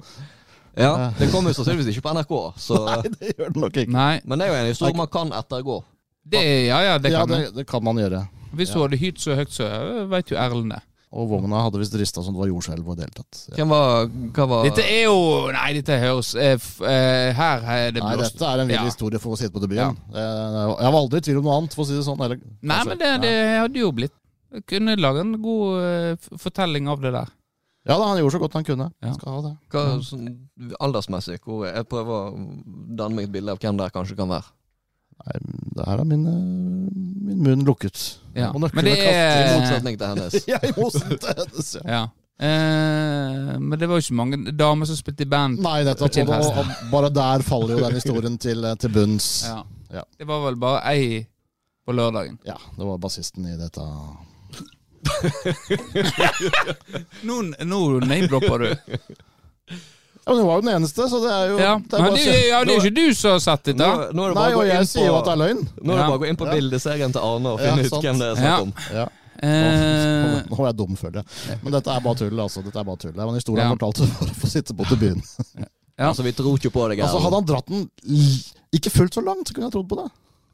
B: Ja, det kommer jo sannsynligvis ikke på NRK, [LAUGHS] så
C: Nei, det gjør den nok ikke.
A: Nei.
B: Men det er jo en historie man kan ettergå.
A: Det, ja ja, det
C: ja,
A: kan
C: det,
A: jeg.
C: det kan man gjøre.
A: Hvis hun hadde hylt så høyt, så veit jo Erlend det.
C: Og vogna hadde visst rista som det var jordskjelv og i det hele tatt. Ja.
B: Hvem var, hva var
A: Dette er jo Nei, dette høres eh, f, eh, Her er det
C: Nei,
A: blåst.
C: dette er en vill
A: Ja.
C: historie for å sitte på debuten. Eh, Jeg var aldri i tvil om noe annet, for å si det sånn. Eller,
A: Nei,
C: kanskje.
A: men det, det hadde jo blitt Jeg kunne lage en god eh, f- fortelling av det der.
C: Ja da, han gjorde så godt han kunne.
A: Ja.
C: Skal ha det.
B: hva, sånn, aldersmessig? Hvor, jeg prøver å danne meg et bilde av hvem der kanskje kan være.
C: Nei, det her er min, eh, min munn lukket.
A: Ja.
C: Og nøklene
A: Men det
B: I
A: er
B: motsetning til hennes.
C: [LAUGHS]
A: [LAUGHS]
C: Jeg er imot hennes, ja.
A: ja. eh, Men det var jo ikke mange damer som spilte i band.
C: Nei, nettopp.
A: Til
C: Og, da-
A: festen.
C: og bare der faller jo den historien til, eh, til bunns. Ja.
A: Ja. Det var vel bare ei på lørdagen.
C: det var bassisten i dette
A: Nå, nå name-dropper du.
C: Ja, men Hun var jo den eneste, så det er jo
A: Ja.
C: det er
A: Men
C: bare
A: det,
C: å
A: ja, det er jo ikke du som har sett dette.
B: Nå, nå er
C: se-
B: det
C: Nei,
B: bare å
C: og
B: gå
C: jeg
B: inn
C: sier jo at
B: på,
C: det er løgn.
B: nå er det
A: Ja.
B: bare å gå inn på
C: Ja.
B: bildeserien til Arne og
C: Ja,
B: finne ut
C: sant.
B: hvem det er
A: Ja.
B: snakk om.
C: Ja.
A: Eh,
C: Nå er jeg dum, føler jeg. Men dette er bare tull. altså. Dette er bare tull. Det var en historie
A: Ja.
C: han fortalte for å få sitte på til byen.
A: Ja.
B: Altså, vi tror ikke på deg.
C: Altså, Hadde han dratt den l- ikke fullt så langt, så kunne jeg trodd på det.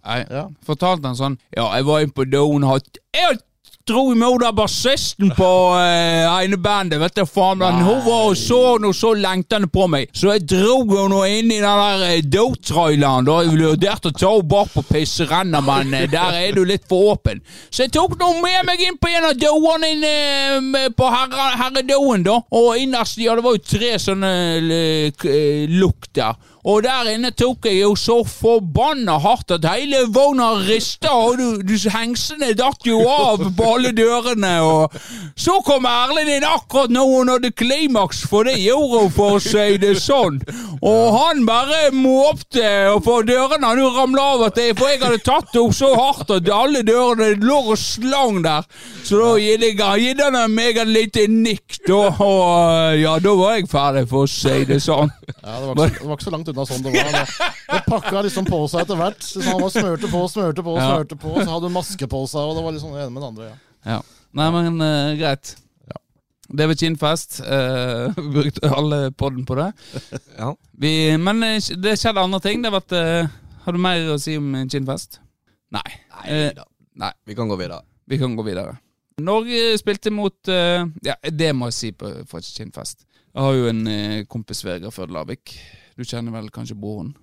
A: nei.
C: Ja.
A: fortalte han sånn Ja, jeg var inne på doen hatt Jeg tror i morgen er bassisten på eh, ene bandet, vet du faen. Men hun var og så noe så lengtende på meg, så jeg dro henne inn i den der eh, do-traileren. Da jeg vurderte å ta henne bak på pisserenna, men eh, der er du litt for åpen. Så jeg tok noe med meg inn på en av doene inn, eh, med- på herre, herredoen, da. Og innerst ja, det var jo tre sånne eh, k- eh, lukt der. Og der inne tok jeg jo så forbanna hardt at hele vogna rista, og du, du, hengsene datt jo av på alle dørene. Og så kom Erlend inn akkurat når hun hadde klimaks, for det gjorde hun for å si det sånn. Og han bare måpte, og på dørene han jo ramla av, at jeg, for jeg hadde tatt henne så hardt at alle dørene lå og slang der. Så da gitt jeg gitt henne meg et lite nikk, da, og ja, da var jeg ferdig, for å si det sånn.
C: Ja, det var, ikke, så- det var ikke så langt unna sånn det var. Det, det pakka liksom på seg etter hvert. Liksom, han var smørte på, smørte på,
A: Ja.
C: smørte på. Så hadde hun maske på seg, og det var liksom det ene med det andre. ja.
A: Ja. Nei, men eh, greit. Det var kinnfest. eh, [LAUGHS] brukte alle podden på det.
B: [LAUGHS] Ja.
A: Vi, men eh, det skjedde andre ting. Det har vært eh, Har du mer å si om eh, kinnfest? Nei.
B: Nei, da.
A: nei.
B: Vi kan gå videre.
A: Vi kan gå videre. Norge spilte mot eh, Ja, det må jeg si på, fra kinnfest. Jeg har jo en eh, kompis Vegard Førde Lavik. Du kjenner vel kanskje broren?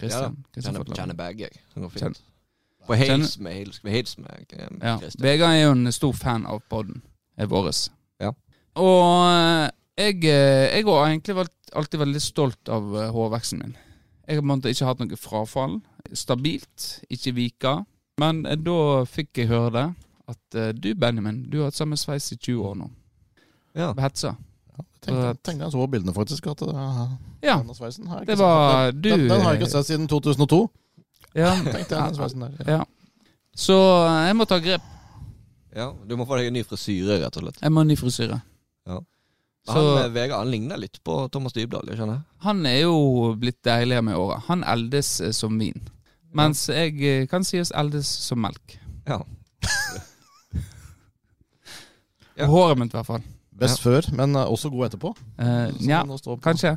A: Christian? Christian
B: Kjenner,
A: Førde Lavik.
B: kjenner begge. jeg. Det går fint.
A: Kjenner-
B: På hils med hils med, hils med eh,
A: Ja.
B: Christian.
A: Vegard er jo en stor fan av podden eh, vår.
B: Ja.
A: Og eh, jeg, eh, jeg har egentlig vært, alltid vært litt stolt av eh, hårveksten min. Jeg har på en måte ikke hatt noe frafall. Stabilt, ikke vika. Men eh, da fikk jeg høre det. At eh, du, Benjamin, du har hatt samme sveis i 20 år nå.
B: Ja.
A: Hetsa.
C: Tenkte, tenkte jeg så på bildene, faktisk. At det,
A: Ja.
C: denne sveisen har jeg ikke
A: Det var
C: sett.
A: du eh,
C: Den, den, den har jeg ikke sett siden 2002.
A: Ja.
C: Tenkte jeg, den sveisen der.
A: ja. Så eh, jeg må ta grep.
B: Ja, du må få deg en ny frisyre, rett og slett.
A: Jeg må ha ny frisyre.
B: Ja.
A: Så
B: Han, eh, Vegard han ligner litt på Thomas Dybdahl, jeg skjønner jeg.
A: han er jo blitt deiligere med åra. Han eldes eh, som vin. Mens jeg eh, kan sies eldes som melk. [LAUGHS]
B: Ja. Ja.
A: Håret mitt, i hvert fall.
C: Best før, men eh, også god etterpå.
A: Eh,
C: Så
A: Nja,
C: den å stå på.
A: kanskje.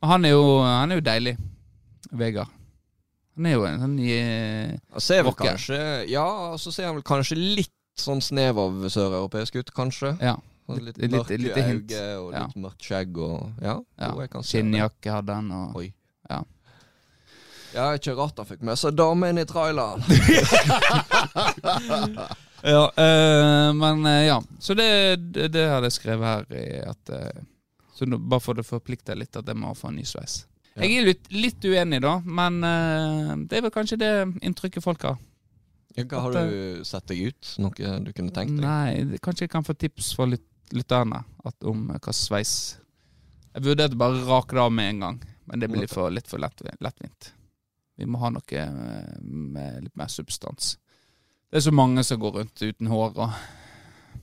A: Men han er jo, han er jo deilig. Vegard. Han er jo en sånn eh,
B: Han ser vel
A: Rocker.
B: kanskje Ja, så ser han vel kanskje litt sånn snev av søreuropeisk ut, kanskje.
A: Ja.
B: Sånn
A: Litt-
B: Litt,
A: litt-
B: mørke
A: litt hint.
B: øyne og
A: Ja.
B: litt mørkt skjegg og Ja,
A: ja.
B: jo, jeg kan se det.
A: Skinnjakke hadde han, og
B: Oi.
A: Ja.
B: Ja, ikke rart han fikk med seg damen i traileren.
A: [LAUGHS]
B: ja,
A: Eh, Men eh, ja. Så det, det, det hadde jeg skrevet her. I at, eh, så nå, bare for å forplikte litt at jeg må få en ny sveis.
B: Ja.
A: Jeg er litt, litt uenig, da, men eh, det er vel kanskje det inntrykket folk har.
B: Hva har
A: at,
B: du sett deg ut? Noe du kunne tenkt deg?
A: Nei, det- kanskje jeg kan få tips fra lyt lytterne at, om eh, hva sveis Jeg vurderte bare å rake det av med en gang, men det blir litt for, litt for lett, lettvint. Vi må ha noe eh, med litt mer substans. Det er så mange som går rundt uten hår, og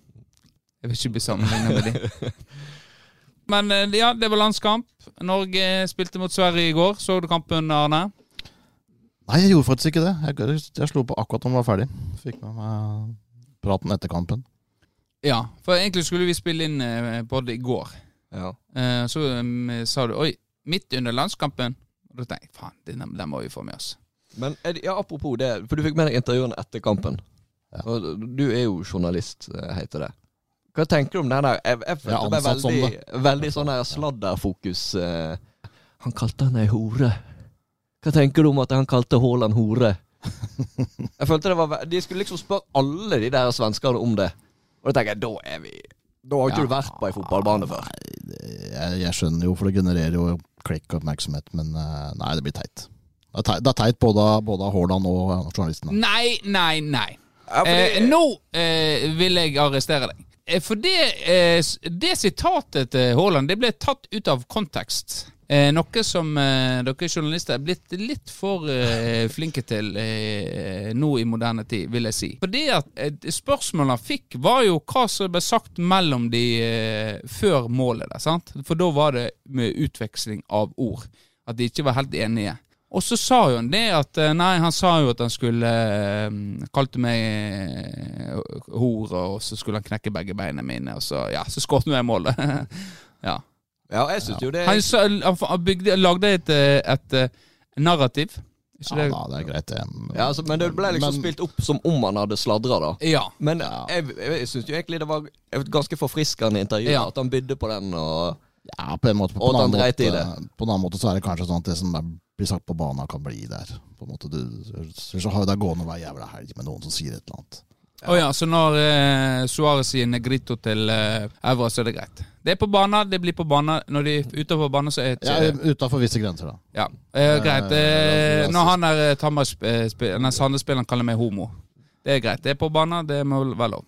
A: Jeg vil ikke bli sammenlignet med de. [LAUGHS] Men eh, ja, det var landskamp. Norge spilte mot Sverige i går. Så du kampen, Arne?
C: Nei, jeg gjorde faktisk ikke det. Jeg, jeg slo på akkurat når den var ferdig. Fikk med meg praten etter kampen.
A: Ja, for egentlig skulle vi spille inn eh, både i går.
B: Ja.
A: Eh, Så mm, sa du Oi, midt under landskampen Og da tenkte jeg, faen, den, den må vi få med oss
B: Men er det, ja, apropos det, for du fikk med deg intervjuene etter kampen.
C: Ja.
B: Og du er jo journalist, eh, heter det. Hva tenker du om den der? Jeg, jeg
C: Jeg er
B: følte det ble
C: ansatt som
B: veldig, veldig sånn der sladderfokus. eh. Han kalte henne ei hore. Hva tenker du om at han kalte Haaland [LAUGHS] hore? Jeg følte det var ve- De skulle liksom spørre alle de der svenskene om det. Og da tenker jeg, da er vi Da har ikke du vært på ei fotballbane før.
C: Jeg, jeg skjønner jo, for det genererer jo klikk og oppmerksomhet, men eh, nei, det blir teit. Det er teit, det er teit både, av- både av Haaland og eh, journalisten.
A: Nei, nei, nei.
B: Ja, fordi-
A: eh, nå eh, vil jeg arrestere deg. Eh, for det, eh, s- det sitatet til Haaland det ble tatt ut av kontekst. Eh, noe som eh, dere journalister er blitt litt for eh, flinke til eh, nå i moderne tid, vil jeg si. Fordi at eh, spørsmålet han fikk, var jo hva som ble sagt mellom de eh, før målet. Der, sant? For da var det med utveksling av ord. At de ikke var helt enige. Og så sa jo han det at eh, Nei, han sa jo at han skulle eh, Kalte meg eh, hore, og så skulle han knekke begge beina mine, og så Ja, så skåret jeg målet. [LAUGHS] ja.
B: Ja, jeg syns jo det
A: Han, sa, han f- han bygde, lagde et, eh, et eh, narrativ. Ikke
C: Ja
A: det?
C: da, det er greit, det. men-
B: ja, altså, Men det ble liksom
C: Men-
B: spilt opp som om han hadde sladra, da.
A: Ja.
B: Men jeg, jeg, jeg syns jo egentlig det var et ganske forfriskende intervju.
A: Ja.
B: At han bydde på den og
C: Ja, på en måte. På,
B: Og
C: en
B: at
C: annen
B: han dreit i
C: måte på en annen måte så er det kanskje sånn at det som er- blir sagt på banen, kan bli der. På en måte, du, så har jo det gående hver jævla helg med noen som sier et eller annet.
A: Å ja, så når eh, Suárez sier negrito til eh, Evra, så er det greit. Det er på banen, det blir på banen. Når de er utenfor banen, så er det
C: Ja, Utafor eh, visse grenser, da.
A: Ja, eh, greit. Eh,
C: Eh,
A: når han der eh, Tammer sp- eh, sp- nei, Sande-spilleren kaller meg homo. Det er greit. Det er på banen, det må vel være lov.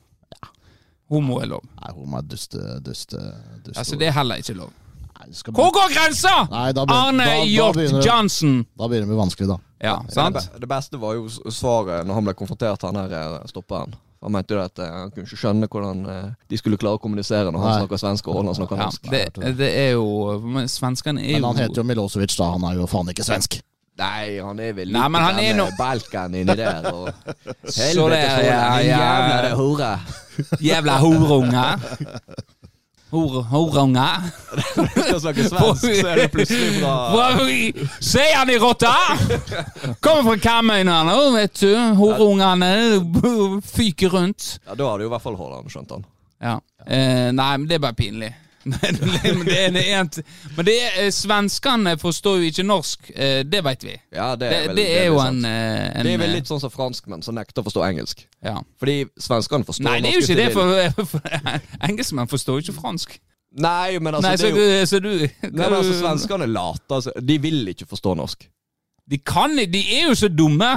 A: Homo er lov.
C: Nei, homo er duste, duste, duste.
A: Altså, det er heller ikke lov.
C: Nei, du skal
A: Hvor
C: bare-
A: går grensa?!
C: Nei, da begynner-
A: Arne
C: da- da begynner
A: Hjort
C: det-
A: Johnsen!
C: Da begynner det å bli vanskelig, da.
A: Ja,
B: Det,
A: sant?
B: be- det beste var jo s- svaret når han ble konfrontert, han her eh, stopperen. Han mente jo at eh, han kunne ikke skjønne hvordan eh, de skulle klare å kommunisere når han
C: Nei.
B: snakker svensk og Holland snakker
A: Ja,
B: norsk.
A: det, det er jo Men svenskene er
C: Men
A: jo
C: han heter jo Milosevic, da. Han er jo faen ikke svensk.
B: Nei, han er vel
A: Nei, men han er nå-
B: eh, Balkan
A: [LAUGHS]
B: inni der og
A: Så det er- ja, ja.
B: Jævla det hore.
A: [LAUGHS] Jævla
C: [LAUGHS]
A: horunge. Hor, horunge.
B: Skal snakke svensk, så er det
A: [LAUGHS]
B: plutselig fra
A: Se han i rotta! Kommer fra Kamøyna nå, vet du. Horungene fyker rundt.
B: Ja, Da hadde jo i hvert fall Haaland skjønt han.
A: Ja. Eh, nei, men det er bare pinlig. [LAUGHS] Men det er det ent- Men det er, eh, svenskene forstår jo ikke norsk. Eh, det veit vi.
B: Ja, det er,
A: Det,
B: vel,
A: det er jo
B: litt
A: en,
B: sant.
A: eh, en eh,
B: Det er vel litt sånn som franskmenn som nekter å forstå engelsk.
A: ja.
B: Fordi svenskene forstår
A: Nei, det er jo
B: norsk
A: ikke
B: hvis de
A: det,
B: vil.
A: [LAUGHS] for, for engelskmenn forstår jo ikke fransk.
B: Nei, men altså,
A: nei,
B: det
A: så,
B: er jo...
A: så du
B: Nei, men altså, Svenskene later. Altså. De vil ikke forstå norsk.
A: De kan ikke, de er jo så dumme.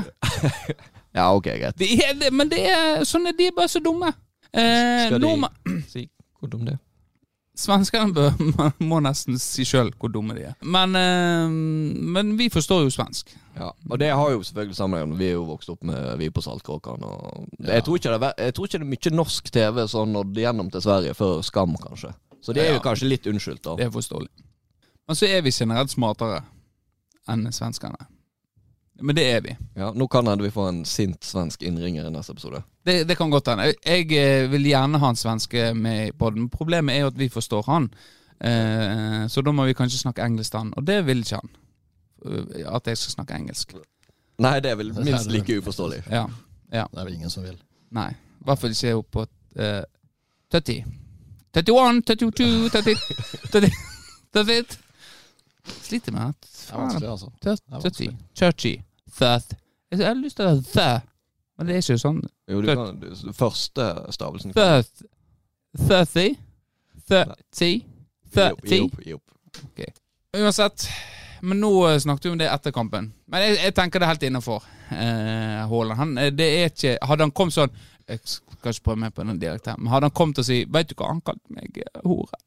B: Ja, ok, greit.
A: De er, det- men det er sånn er de bare så dumme. Eh,
B: Skal de-
A: nordmenn- [CLEARS THROAT]
B: Si hvor dum det er.
A: Svenskene bør, man må nesten si sjøl hvor dumme de er. Men, eh, men vi forstår jo svensk.
B: Ja, og det har jo selvfølgelig sammenheng med Vi er jo vokst opp med Vi er på Saltkråkan og jeg, tror ikke det, er ve- jeg tror ikke det er mye norsk TV sånn nådd gjennom til Sverige før Skam, kanskje. Så det er
A: Ja.
B: jo kanskje litt unnskyldt, da.
A: Det er forståelig. Men så er vi generelt smartere enn svenskene. Men det er vi.
B: Ja, nå kan hende vi får en sint svensk innringer i neste episode.
A: Det, det kan godt hende. Jeg eh, vil gjerne ha en svenske med i podden. Problemet er jo at vi forstår han. Eh, så da må vi kanskje snakke engelsk til han, og det vil ikke han. Eh, At jeg skal snakke engelsk.
B: Nei, det er vel minst like uforståelig.
A: Ja.
C: Det er vel ingen som vil.
A: Nei. I hvert fall ikke opp på eh, 30. 31, 32, 30, 30, 30. Sliter med at
C: Det er vanskelig, altså. er
A: Churchy.
C: vanskelig.
A: Churchy. Thirth. Jeg har lyst til å si the, men det er ikke sånn.
B: Jo, du kan, du, første stavelsen kan-
A: Thirth. Thirty. Thirty.
B: Gi
A: Thirty.
B: opp, gi opp.
A: Uansett. Men nå eh, snakket vi om det etter kampen. Men jeg, jeg tenker det er helt innafor. Eh, Haaland. Han, eh, det er ikke Hadde han kommet sånn Jeg skal ikke prøve meg på den dialekten, her, men hadde han kommet og si Veit du hva, han kalte meg eh, hore.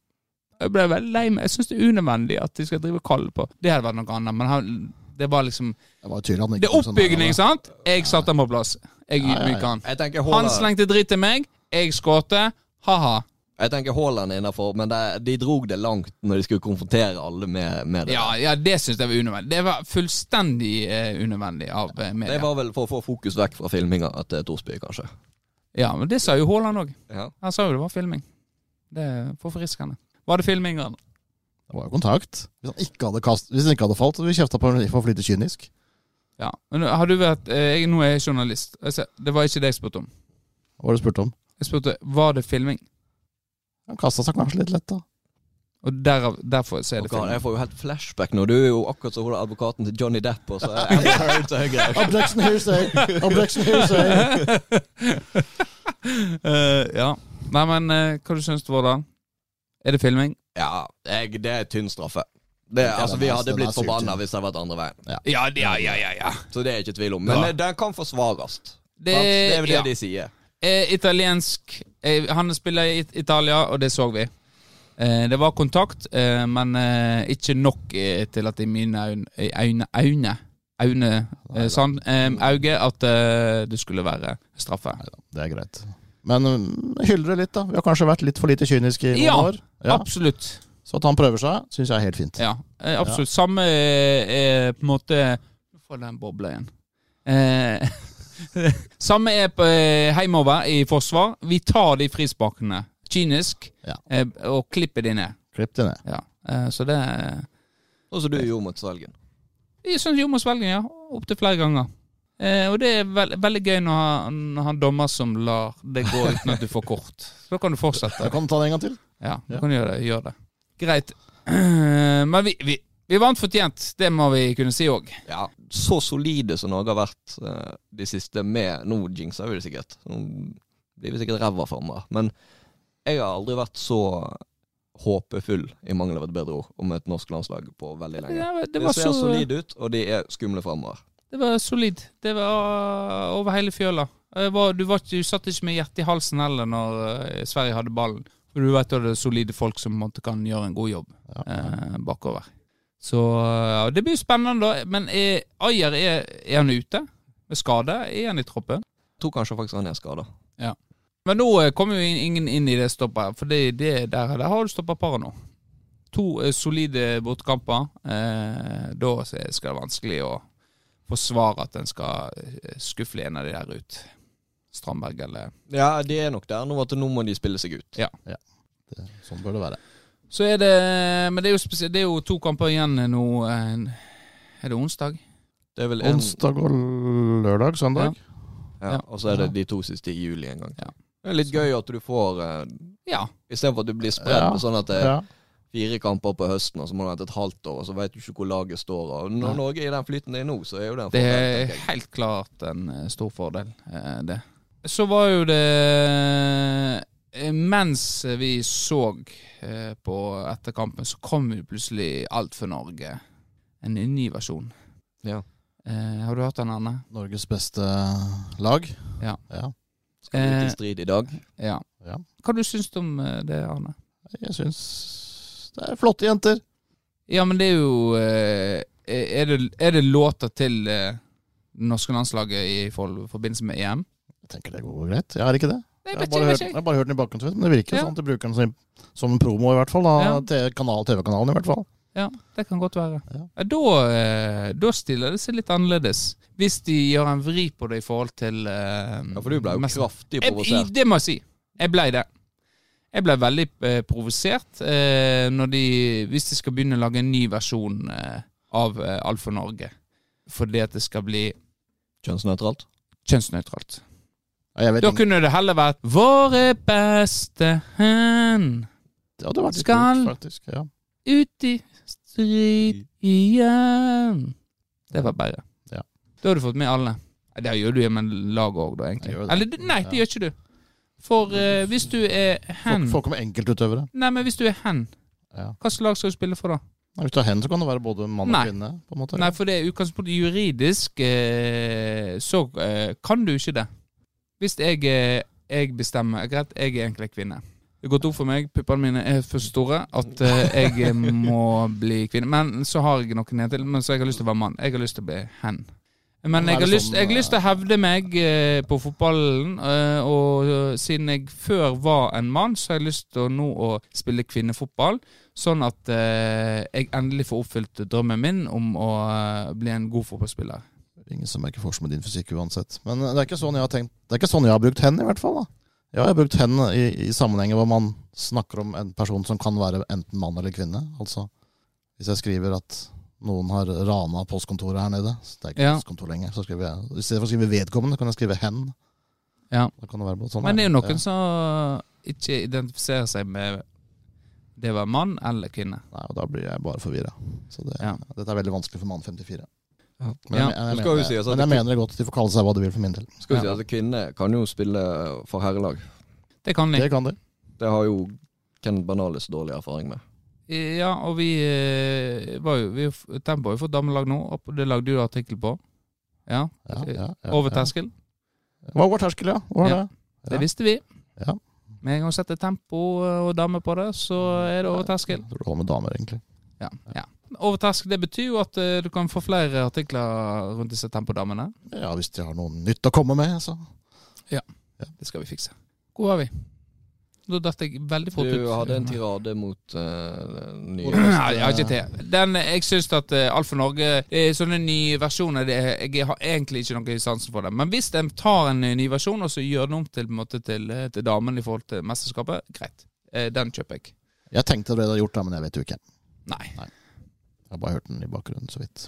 A: Jeg ble veldig lei meg. Jeg syns det er unødvendig at de skal drive og kalle på Det hadde vært noe annet, men han, det var liksom
C: Det var jo tydelig at han ikke
A: Det er
C: kom sånn der,
A: oppbygning,
C: da.
A: sant? Jeg satte han på plass. Jeg
C: Ja, ja, ja.
A: ydmyket han.
B: Jeg tenker
A: Han
B: Haaland-
A: slengte dritt til meg, jeg skårte. Ha-ha.
B: Jeg tenker Haaland er innafor, men det, de drog det langt når de skulle konfrontere alle med, med det.
A: Ja, ja, det syns jeg var unødvendig. Det var fullstendig eh, unødvendig av eh, media.
B: det var vel for å få fokus vekk fra filminga til Thorsby, kanskje.
A: Ja, men det sa jo Haaland òg.
B: Ja.
A: Han sa jo det var filming. Det er forfriskende. Var det filming? Ørn?
C: Det var jo kontakt. Hvis han ikke hadde, kast, hvis han ikke hadde falt, så hadde vi kjefta på ham for å flyte kynisk.
A: Ja. Men har du vært eh, jeg, Nå er jeg journalist. Jeg ser- Det var ikke det jeg spurte om.
C: Hva var det du spurte om?
A: Jeg spurte var det filming.
C: Han kasta seg kanskje litt lett, da.
A: Og derav, derfor så er det
B: Og Karl,
A: film.
B: jeg får jo helt flashback nå. Du er jo akkurat som hun er advokaten til Johnny Depp. Og så er Amber Heard til høyre.
C: Objection hearsay! Objection hearsay!
A: Eh, ja. Nei, men eh, hva du syns du, Vårdal? Er det filming?
B: Ja, jeg, det er tynn straffe. Det,
C: Ja,
B: altså,
C: den
B: vi
C: er-
B: hadde
C: den er
B: blitt
C: sur,
B: forbanna
C: tynn.
B: hvis det hadde vært andre veien.
A: Ja, ja, ja, ja. ja.
B: Så det er ikke tvil om. Men
A: Ja.
B: eh, den kan forsvares. sant?
A: Det,
B: det er vel det
A: ja.
B: de sier.
A: Eh, italiensk eh, Han spiller i It- Italia, og det så vi. Eh, det var kontakt, eh, men eh, ikke nok eh, til at i mine øyne øyne, øyne, øyne eh, sand, eh, auge at eh, det skulle være straffe.
C: Det er greit. Men mm, hyller det litt, da. Vi har kanskje vært litt for lite kyniske i noen
A: Ja,
C: år. Ja.
A: Absolutt.
C: Så at han prøver seg, syns jeg er helt fint.
A: Ja, eh, absolutt. Samme eh, er på en måte Nå får jeg den bobla igjen. Eh, [LAUGHS] samme er på eh, heimover i forsvar. Vi tar de frispakene. Kynisk.
C: Ja.
A: Eh, og klipper de ned.
C: Klipp det ned.
A: Ja. Eh, så det er
B: Og som du gjorde mot Svelgen.
A: Sånn som Jonas Velgen, ja. Opptil flere ganger. Eh, og det er vel- veldig gøy når han, når han dommer som lar det gå uten at du får kort. Så da kan du
C: Jeg
A: fortsette.
C: kan ta det en gang til.
A: Ja, du
C: Ja.
A: kan gjøre det. Gjør det. Greit. [CLEARS THROAT] Eh, Men vi, vi, vi vant fortjent. Det må vi kunne si òg.
B: Ja, så solide som Norge har vært eh, de siste med Nå jinxer vi det sikkert. Nå blir vi sikkert ræva framover. Men jeg har aldri vært så håpefull, i mangel av et bedre ord, om et norsk landslag på veldig lenge.
A: Ja, det
B: Det,
A: var
B: ser
A: så-
B: solide ut, og de er skumle framover.
A: Det var solid. Det var eh, over hele fjøla. Jeg var, du, var, ikke- du satt ikke med hjertet i halsen heller når eh, Sverige hadde ballen. For du vet at det er solide folk som på en måte kan gjøre en god jobb
C: Ja.
A: eh, bakover. Så eh, ja, det blir spennende, da. Men er, Ajer, er, er han ute med skade? Er han i troppen?
B: Tror kanskje faktisk han er skada.
A: Men nå eh, kommer jo in- ingen inn i det stoppet, her, for det, det der, der har du stoppa paret nå. To eh, solide bortekamper. Eh, da s- skal det vanskelig å forsvare at en skal eh, skuffe en av de der ut. Strandberg eller
B: Ja, de er nok der nå at nå må de spille seg ut.
C: Det, sånn bør det være.
A: Så er det eh, Men det er jo, spesielt, det er jo to kamper igjen nå. Eh, er det onsdag?
B: Det er vel en,
C: Onsdag og lørdag, søndag.
B: ja,
A: ja.
B: Og så er det de to siste i juli en gang.
A: Ja.
B: Det er litt gøy at du får uh,
A: Ja.
B: Istedenfor at du blir spredd,
C: Ja.
B: sånn at det,
C: Ja.
B: fire kamper på høsten, og så må du vente et halvt år, og så vet du ikke hvor laget står. Og
A: Nei.
B: når Norge er i den flyten det er nå, så er jo det en
A: Det
B: fordel,
A: er
B: tenker jeg.
A: helt klart en eh, stor fordel, eh, det. Så var jo det eh, Mens vi så eh, på etter kampen, så kom jo plutselig Alt for Norge. En ny versjon.
B: Ja.
A: Eh, har du hørt den, Arne?
C: Norges beste lag.
A: Ja.
B: Skal vi ut
A: Eh,
B: i strid i dag?
A: Ja.
C: Ja.
A: Hva du syns du om eh, det, Arne?
C: Jeg syns det er flotte jenter.
A: Ja, men det er jo eh, Er det, er det låter til eh, det norske landslaget i for- forbindelse med EM?
C: Jeg tenker det går greit. Jeg er ikke det.
A: Nei, vet
C: Jeg har
A: ikke,
C: bare
A: vet
C: hørt,
A: ikke.
C: jeg har bare hørt den i bakgrunnen, men det virker
A: Ja.
C: sånn at de bruker den som, som en promo, i hvert fall. Da,
A: Ja.
C: til kanal, TV-kanalen, i hvert fall.
A: Ja, det kan godt være.
C: Ja.
A: Ja. Da, eh, da stiller det seg litt annerledes. Hvis de gjør en vri på det i forhold til eh,
B: Ja, for du ble jo
A: mest-
B: kraftig
A: Jeg-
B: provosert.
A: Det må jeg si. Jeg ble det. Jeg ble veldig eh, provosert eh, når de, hvis de skal begynne å lage en ny versjon eh, av eh, Alt for Norge. Fordi at det skal bli
B: Kjønnsnøytralt.
A: kjønnsnøytralt.
C: Ja, Jeg vet
A: Da
C: ikke.
A: kunne det heller vært Våre beste hen
C: Det hadde vært litt
A: Skal-
C: kult, faktisk. Ja.
A: ut i strid igjen. Det var bedre.
C: Ja.
A: Da har du fått med alle. Nei, Det gjør du jo med laget òg, da, egentlig.
C: Jeg gjør det.
A: Eller det- nei, det
C: Ja.
A: gjør ikke du. For eh, hvis du er hen
C: Folk, folk med enkeltutøvere.
A: Nei, men hvis du er hen,
C: Ja.
A: hva slags lag skal du spille for da?
C: Nei, Hvis du har hen, så kan det være både mann og
A: Nei.
C: kvinne. på en måte.
A: Nei, for det er utgangspunktet juridisk, eh, så eh, kan du ikke det. Hvis jeg, eh, jeg bestemmer Greit, jeg er egentlig kvinne. Det har gått opp for meg, puppene mine er for store, at eh, jeg må bli kvinne. Men så har jeg noen igjen til, men så jeg har lyst til å være mann. Jeg har lyst til å bli hen. Men
C: Men er
A: jeg har,
C: det
A: lyst,
C: sånn,
A: jeg har lyst til å hevde meg eh, på fotballen, eh, og eh, siden jeg før var en mann, så har jeg lyst til å nå å spille kvinnefotball. Sånn at eh, jeg endelig får oppfylt drømmen min om å eh, bli en god fotballspiller.
C: Ingen som merker forskjell med din fysikk uansett. Men det er ikke sånn jeg har tenkt Det er ikke sånn jeg har brukt hen, i hvert fall. da Ja, jeg har brukt hen i, i sammenhenger hvor man snakker om en person som kan være enten mann eller kvinne. Altså hvis jeg skriver at noen har rana postkontoret her nede så Det er ikke
A: Ja.
C: postkontor lenger. Så skriver jeg I stedet for å skrive vedkommende, kan jeg skrive hen.
A: Ja.
C: Da kan det være både sånn
A: Men det er jo
C: ja.
A: noen som ikke identifiserer seg med det var mann eller kvinne.
C: Nei, og da blir jeg bare forvirra. Så det,
A: Ja.
C: dette er veldig vanskelig for mann 54.
B: Ja.
C: Men jeg,
A: Ja,
B: nå
C: jeg, jeg,
B: skal
C: mener-
B: vi si altså at
C: men jeg
B: det-
C: mener det godt at de får kalle seg hva de vil for min del.
B: Skal vi si at kvinner kan jo spille for herrelag.
A: Det kan de.
C: Det kan de.
B: Det har jo Ken Banales dårlig erfaring med.
A: Ja, og vi eh, var jo vi, Tempo har jo fått damelag nå, og det lagde du artikkel på. Ja.
C: Ja, ja, ja,
A: Over
C: ja.
A: terskel.
C: Hva var terskel, ja? Hva var
A: Ja.
C: det? Ja.
A: Det visste vi.
C: Ja.
A: Med en gang du setter tempo eh, og dame på det, så er det over terskel.
C: Jeg tror det holder med damer, egentlig.
A: Over terskel, det betyr jo at eh, du kan få flere artikler rundt disse tempodamene.
C: Ja, hvis de har noe nytt å komme med, så.
A: Det skal vi fikse. Hvor var vi? Nå datt jeg veldig fort ut.
B: Du hadde en tirade mot eh, nye
A: Nei, jeg har ikke til. Den, jeg syns at eh, Alf og Norge det er Sånne nye versjoner det, er- Jeg har egentlig ikke noe i sansen for det. Men hvis de tar en eh, ny versjon og så gjør den om til, på en måte, til, eh, til damen i forhold til mesterskapet, greit. Eh, Den kjøper jeg.
C: Jeg tenkte det de hadde gjort, da, men jeg vet jo ikke.
A: Nei.
C: Jeg har bare hørt den i bakgrunnen så vidt.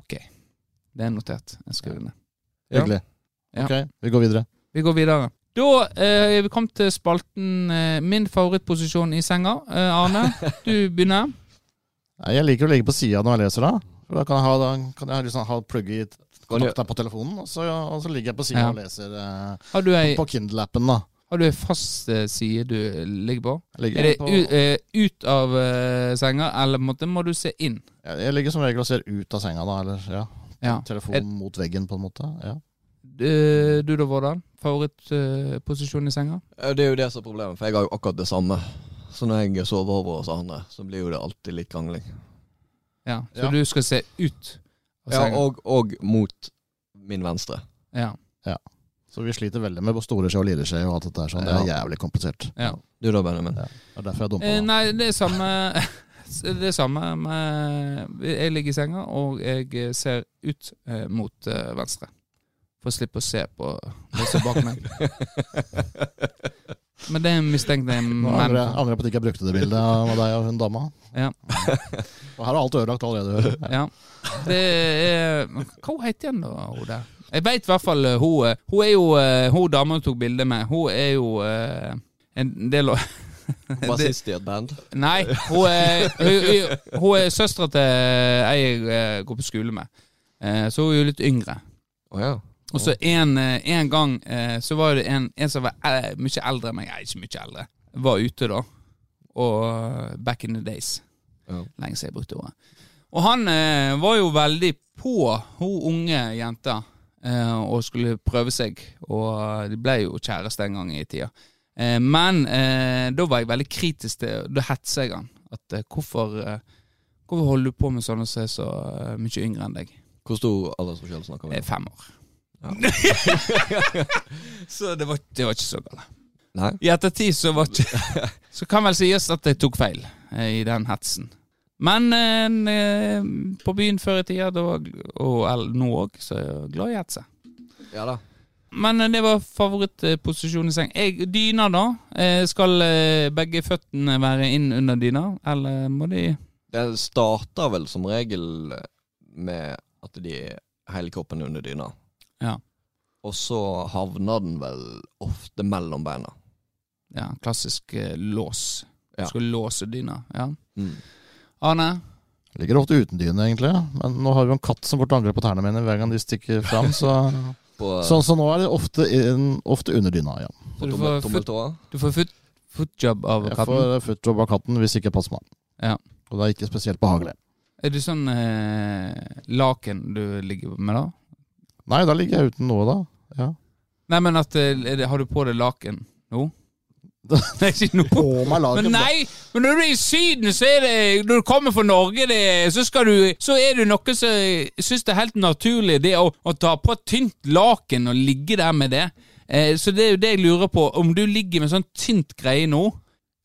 A: Ok. Det er notert. Jeg skriver det ned.
B: Ja.
C: Hyggelig.
A: Ja.
C: Ok, vi går videre.
A: Vi går videre. Da eh, er vi kommet til spalten eh, Min favorittposisjon i senga. Eh, Arne, du begynner.
C: Nei, Jeg liker å ligge på sida når jeg leser, da. For da kan jeg ha, da kan jeg liksom ha plugge i kontakta på telefonen, og så, og så ligger jeg på sida
A: Ja.
C: og leser eh,
A: Har du ei,
C: på Kindle-appen, da.
A: har du ei fast eh, side du ligger på?
C: Jeg
A: Er
C: ligger,
A: det
C: på,
A: u, eh, ut av eh, senga, eller på en måte må du se inn?
C: jeg, jeg ligger som regel og ser ut av senga, da. Eller ja,
A: Ja.
C: telefonen
A: Er-
C: mot veggen, på en måte. Ja.
A: Eh, Du da, Vårdal? Favorittposisjon i senga?
B: Ja, Det er jo det som er problemet, for jeg har jo akkurat det samme. Så når jeg sover over hos andre, så blir jo det alltid litt krangling.
A: Ja. Så
C: Ja.
A: du skal se ut av
B: Ja,
A: senga?
B: og, og mot min venstre.
A: Ja.
C: Så vi sliter veldig med store skje og lille skje og alt dette her, sånn. Det er jævlig komplisert.
B: Du da,
A: [LAUGHS]
B: Benjamin?
C: Det er derfor jeg dumpa.
A: Eh,
C: da.
A: nei, det er samme [LAUGHS] Det er samme med Jeg ligger i senga, og jeg ser ut eh, mot eh, venstre. For å slippe å se på det som er bak meg. Men det er mistenkt det er
C: Nå angrer
A: menn.
C: jeg angrer jeg på at jeg ikke brukte det bildet av deg og hun dama.
A: Ja.
C: [LAUGHS] Og her er alt ødelagt allerede.
A: Ja. Det er Hva heter hun da, hun der? Jeg veit i hvert fall eh, hun eh, Hun er jo eh, Hun dama du tok bilde med, hun er jo eh, en del av [LAUGHS]
B: Bassist i et band?
A: Nei, hun er, hun, hun, hun er søstera til ei jeg eh, går på skole med. Eh, Så hun er jo litt yngre.
B: Å ja.
A: Og så en, eh, en gang eh, så var det en, en som var eh, mye eldre enn meg, nei, ikke mye eldre, var ute da. Og eh, back in the days.
B: Ja.
A: Lenge siden jeg brukte ordet. Og han eh, var jo veldig på hun unge jenta, eh, og skulle prøve seg. Og eh, de ble jo kjæreste en gang i tida. Eh, men eh, da var jeg veldig kritisk til Da hetsa jeg han. At eh, hvorfor, eh, hvorfor holder du på med sånne som er så eh, mye yngre enn deg?
B: Hvor stor aldersforskjell snakker vi
A: Eh,
B: om?
A: fem år. [LAUGHS] så det var, det var ikke så galt.
B: Nei?
A: I ettertid så var ikke [LAUGHS] Så kan vel sies at jeg tok feil eh, i den hetsen. Men eh, en, eh, på byen før i tida, da, og el- nå òg, så er jeg glad i hetse.
B: Ja da.
A: Men eh, det var favorittposisjon i seng. Jeg, dyna, da? Eh, Skal eh, begge føttene være inn under dyna, eller må de
B: Det starter vel som regel eh, med at de er hele kroppen under dyna.
A: Ja.
B: Og så havner den vel ofte mellom beina.
A: Ja, klassisk eh, lås.
B: Ja.
A: Skal låse dyna. Ja.
B: Mm.
A: Arne?
C: Ligger ofte uten dyne, egentlig. Men nå har vi jo en katt som går til angrep på tærne mine hver gang de stikker fram, så
A: [LAUGHS]
B: På,
C: Så, så nå er det ofte, inn, ofte under dyna, ja.
A: Så
B: på
A: du
B: tommel,
A: får
B: tommeltåa.
A: Du får foot, footjob av
C: Jeg
A: katten.
C: får footjob av katten hvis ikke jeg passer meg.
A: Ja.
C: Og det er ikke spesielt behagelig.
A: Er du sånn eh, laken du ligger med, da?
C: Nei, da ligger jeg uten noe, da. Ja.
A: Nei, men at eh, er det- Har du på deg laken
C: [LAUGHS]
A: nå?
C: Da-
A: Nei, ikke nå.
C: På meg laget,
A: Men nei! Men når du er i Syden, så er det Når du kommer fra Norge, det, så, skal du, så er du noe som syns det er helt naturlig, det å, å ta på et tynt laken og ligge der med det. Eh, så det er jo det jeg lurer på. Om du ligger med sånn tynt greie nå,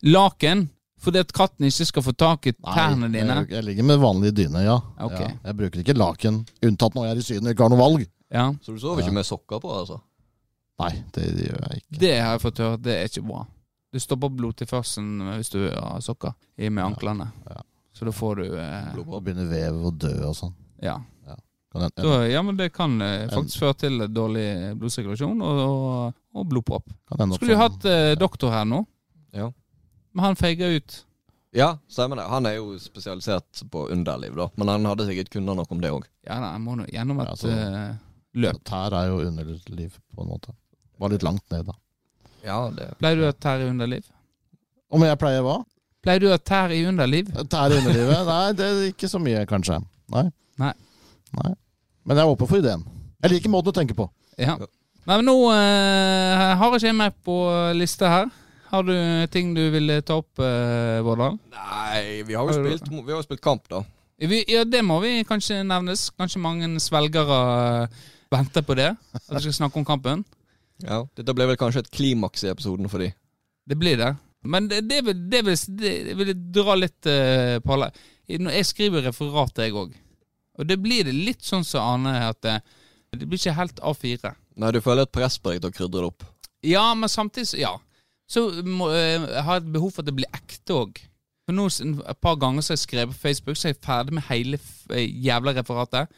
A: laken, fordi at katten ikke skal få tak i
C: Nei,
A: tærne dine
C: Jeg, jeg ligger med vanlig dyne, ja.
A: Ok.
C: ja. Jeg bruker ikke laken, unntatt når jeg er i Syden og ikke har noe valg.
A: Ja
B: Så du sover ikke med sokker på, altså?
C: Nei, det gjør jeg ikke.
A: Det har jeg fått høre, det er ikke bra. Du stopper blodtilførselen hvis du har sokker i med anklene.
C: ja.
A: Så da får du eh,
C: Da begynner vev å dø og sånn.
A: ja.
C: Kan en- en-
A: Da, ja, men det kan eh, faktisk føre til dårlig blodsirkulasjon og, og, og blodpropp.
C: kan ende opp
A: Skulle du
C: sånn.
A: hatt eh, doktor her nå?
B: Ja.
A: Men han feiga ut.
B: Ja, stemmer det. Han er jo spesialisert på underliv, da. Men han hadde sikkert kunnet noe om det òg.
A: Ja da, han må nå gjennom
C: Ja,
A: et
C: så-
A: eh, løp.
C: Tær er jo underliv, på en måte. Var litt langt ned, da.
B: Ja, det
A: Pleier du å tære i underliv?
C: Om jeg pleier hva?
A: Pleier du å tære i underliv?
C: Tær
A: [LAUGHS]
C: i underlivet? Nei, det er ikke så mye, kanskje. Nei.
A: Nei.
C: Nei. Men jeg er åpen for ideen. Jeg liker måten du tenker på.
A: Ja. Nei, men nå eh, har jeg ikke jeg med på lista her. Har du ting du ville ta opp, eh, Vårdal?
B: Nei, vi har jo spilt, vi har jo spilt kamp, da.
A: Vi, ja, det må vi kanskje nevnes. Kanskje mange svelgere eh, venter på det. At vi skal snakke om kampen.
B: Ja. Dette ble vel kanskje et klimaks i episoden for de.
A: Det blir det. Men det, det, vil, det, vil, det vil dra litt eh, på alle. I- når Jeg skriver referat, jeg òg. Og det blir det litt sånn som Arne, at det, det blir ikke helt A4.
B: Nei, du føler et press på deg til å krydre det opp.
A: Ja, men samtidig så- Ja. Så må, eh, har jeg et behov for at det blir ekte òg. For nå s- Et par ganger så har jeg skrevet på Facebook, så er jeg ferdig med hele f eh, jævla referatet.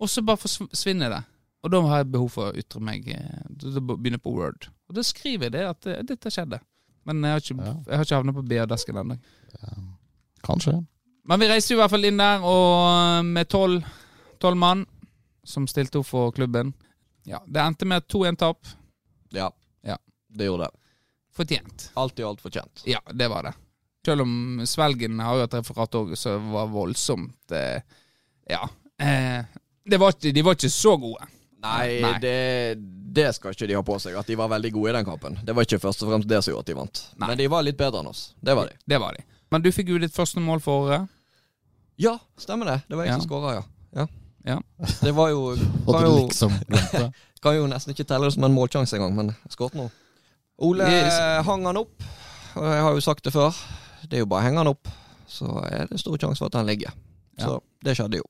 A: Og så bare forsv- forsvinner det. Og da har jeg behov for å ytre meg. eh, Da da begynner jeg på Word. Og da skriver jeg det at eh, dette skjedde. Men jeg har ikke,
C: Ja.
A: jeg har ikke havnet på BA-desken ennå.
C: Kanskje.
A: Men vi reiste jo i hvert fall inn der og eh, med tolv tolv mann som stilte opp for klubben. Ja, Det endte med 2-1-tap.
B: Ja.
A: Ja.
B: Det gjorde det.
A: Fortjent.
B: Alt i alt fortjent.
A: Ja, det var det. Selv om Svelgen har jo et referat òg som var voldsomt eh, Ja. Eh, det var, ikke- de var ikke så gode.
B: Nei,
A: Nei.
B: Det, det skal ikke de ha på seg, at de var veldig gode i den kampen. Det var ikke først og fremst det som gjorde at de vant.
A: Nei.
B: Men de var litt bedre enn oss. Det var de.
A: Det var de. Men du fikk jo ditt første mål for året.
B: Ja, stemmer det. Det var jeg
A: Ja.
B: som skåra, ja. Ja.
A: Ja.
B: Det var [LAUGHS] jo
C: Og
B: kan
C: du
B: jo,
C: liksom glemte.
B: kan jo nesten ikke telle det som en målsjanse engang, men jeg skåret nå. Ole
A: Yes.
B: hang han opp, og jeg har jo sagt det før. Det er jo bare å henge han opp, så er det stor sjanse for at han ligger.
A: Ja.
B: Så det skjedde jo.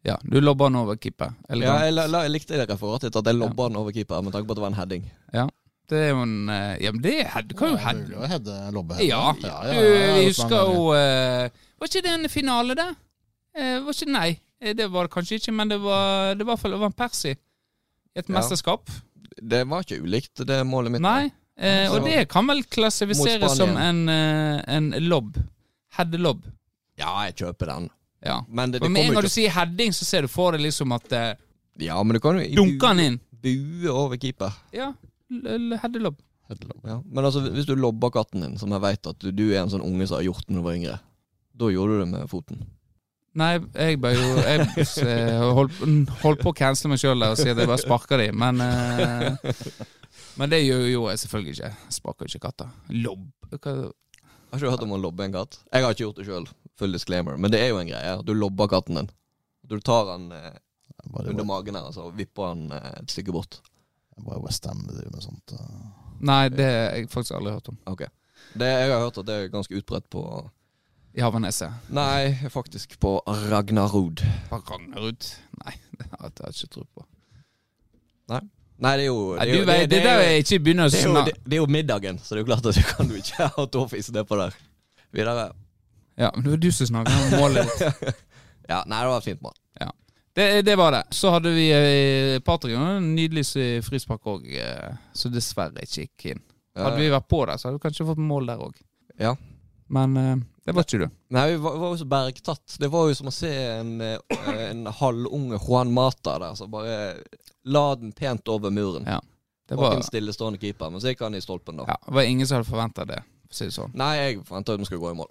A: Ja, du lobba han over keeper.
B: Ja,
A: Elegant.
B: jeg, la- la- jeg likte det referatet at jeg lobba han over keeper med tanke på at det var en heading.
A: Det er jo en eh, Ja, men [LAUGHS] det er head- Du kan jo heade.
C: Ja, Hedde Lobbe.
A: Ja.
C: ja, ja, ja,
A: Du, vi
C: ja,
A: husker jo eh, Var ikke det en finale, det? Eh, var ikke Nei, eh, det var det kanskje ikke, men det var det var i hvert fall over en Persi. I et
B: Ja.
A: mesterskap.
B: Det var ikke ulikt det målet mitt.
A: Nei, eh, og
B: Så-
A: det kan vel
B: Mot
A: klassifiseres som en,
B: Spanien.
A: eh, en lobb. Headelobb.
B: Ja, jeg kjøper den.
A: Ja.
B: Men det, det
A: Og med en
B: kommer
A: gang
B: jo
A: du sier heading, så ser du for deg liksom at eh,
B: ikke Ja, men du kan jo i
A: Dunker han inn?
B: bu- bue over keeper.
A: Ja. l- l- Headelobb.
C: Hedde Lobbe.
B: Ja. Men altså, hvis du lobber katten din, som jeg veit at du, du er en sånn unge som har gjort det når du var yngre, da gjorde du det med foten.
A: Nei, jeg bare jo Jeg eh, holdt, holdt på å cancele meg sjøl og si at jeg bare sparker dem, men eh, Men det gjør jo jeg selvfølgelig ikke. Jeg sparker jo ikke katter. Lobb Hva,
B: Har ikke du hørt om å lobbe en katt? Jeg har ikke gjort det sjøl, full disclaimer, men det er jo en greie. Du lobber katten din. Du tar han eh,
C: Bare,
B: under magen her, altså, og vipper han eh, et stykke bort.
C: bare West Ham det driver med sånt. eh.
A: Nei, det har jeg faktisk aldri hørt om.
B: Ok. Det, jeg har hørt at det er ganske utbredt på
A: I Haverneset.
B: Nei, faktisk på Ragnarod.
A: Ragnarud? Nei, det har jeg ikke tro på.
B: Nei, det er jo
A: Nei,
B: er
A: du
B: jo-
A: vet, det
B: er
A: der
B: jo-
A: er ikke begynner å
B: Det er, jo,
A: snakke
B: det, det er jo middagen, så det er jo klart at du kan du ikke [LAUGHS] ha tåfis nedpå der. Videre.
A: Ja, men det var du som snakket om målet
B: [LAUGHS]
A: ditt.
B: Ja, nei, det var et fint mål.
A: Det, det var det. Så hadde vi eh, Patrick og en nydelig s- frispark òg, eh, som dessverre ikke gikk inn. Hadde vi vært på der, så hadde vi kanskje fått mål der òg.
B: Ja.
A: Men eh, det var ikke du.
B: Nei, vi var, var jo så bergtatt. Det var jo som å se en, eh, en halvunge Juan Mata der som bare la den pent over muren.
A: Ja, Det
B: Bak
A: var,
B: en stillestående keeper, men så gikk han i stolpen, da.
A: ja, det var ingen som hadde forventa det, for å si det sånn.
B: Nei, jeg forventa at vi skulle gå i mål.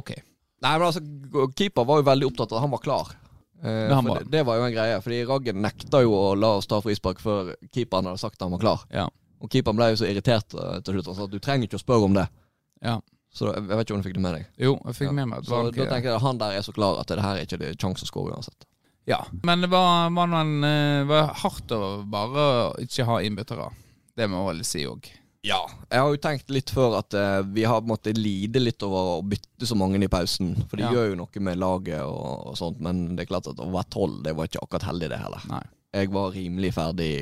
A: Ok.
B: Nei, men altså, g- keeper var jo veldig opptatt av at han var klar. Eh,
A: Det han
B: for
A: var.
B: det, det var jo en greie, fordi Raggen nekta jo å la oss ta frispark før keeperen hadde sagt at han var klar.
A: Ja.
B: Og keeperen ble jo så irritert eh, til slutt. Han sa at du trenger ikke å spørre om det.
A: Ja.
B: Så da, jeg vet ikke om du fikk det med deg.
A: Jo, jeg eh, fikk
B: Ja.
A: med meg at det
B: Så
A: var
B: da
A: ikke
B: tenker jeg at han der er så klar at det her er ikke det sjanse å skåre uansett.
A: Ja. Men det var, var, noen, eh, var hardt å bare ikke ha innbyttere. Det må jeg vel si òg.
B: Ja. Jeg har jo tenkt litt før at eh, vi har på en måte lide litt over å bytte så mange i pausen. For det
A: Ja.
B: gjør jo noe med laget og, og sånt, men det er klart at å være tolv, det var ikke akkurat heldig, det heller.
A: Nei.
B: Jeg var rimelig ferdig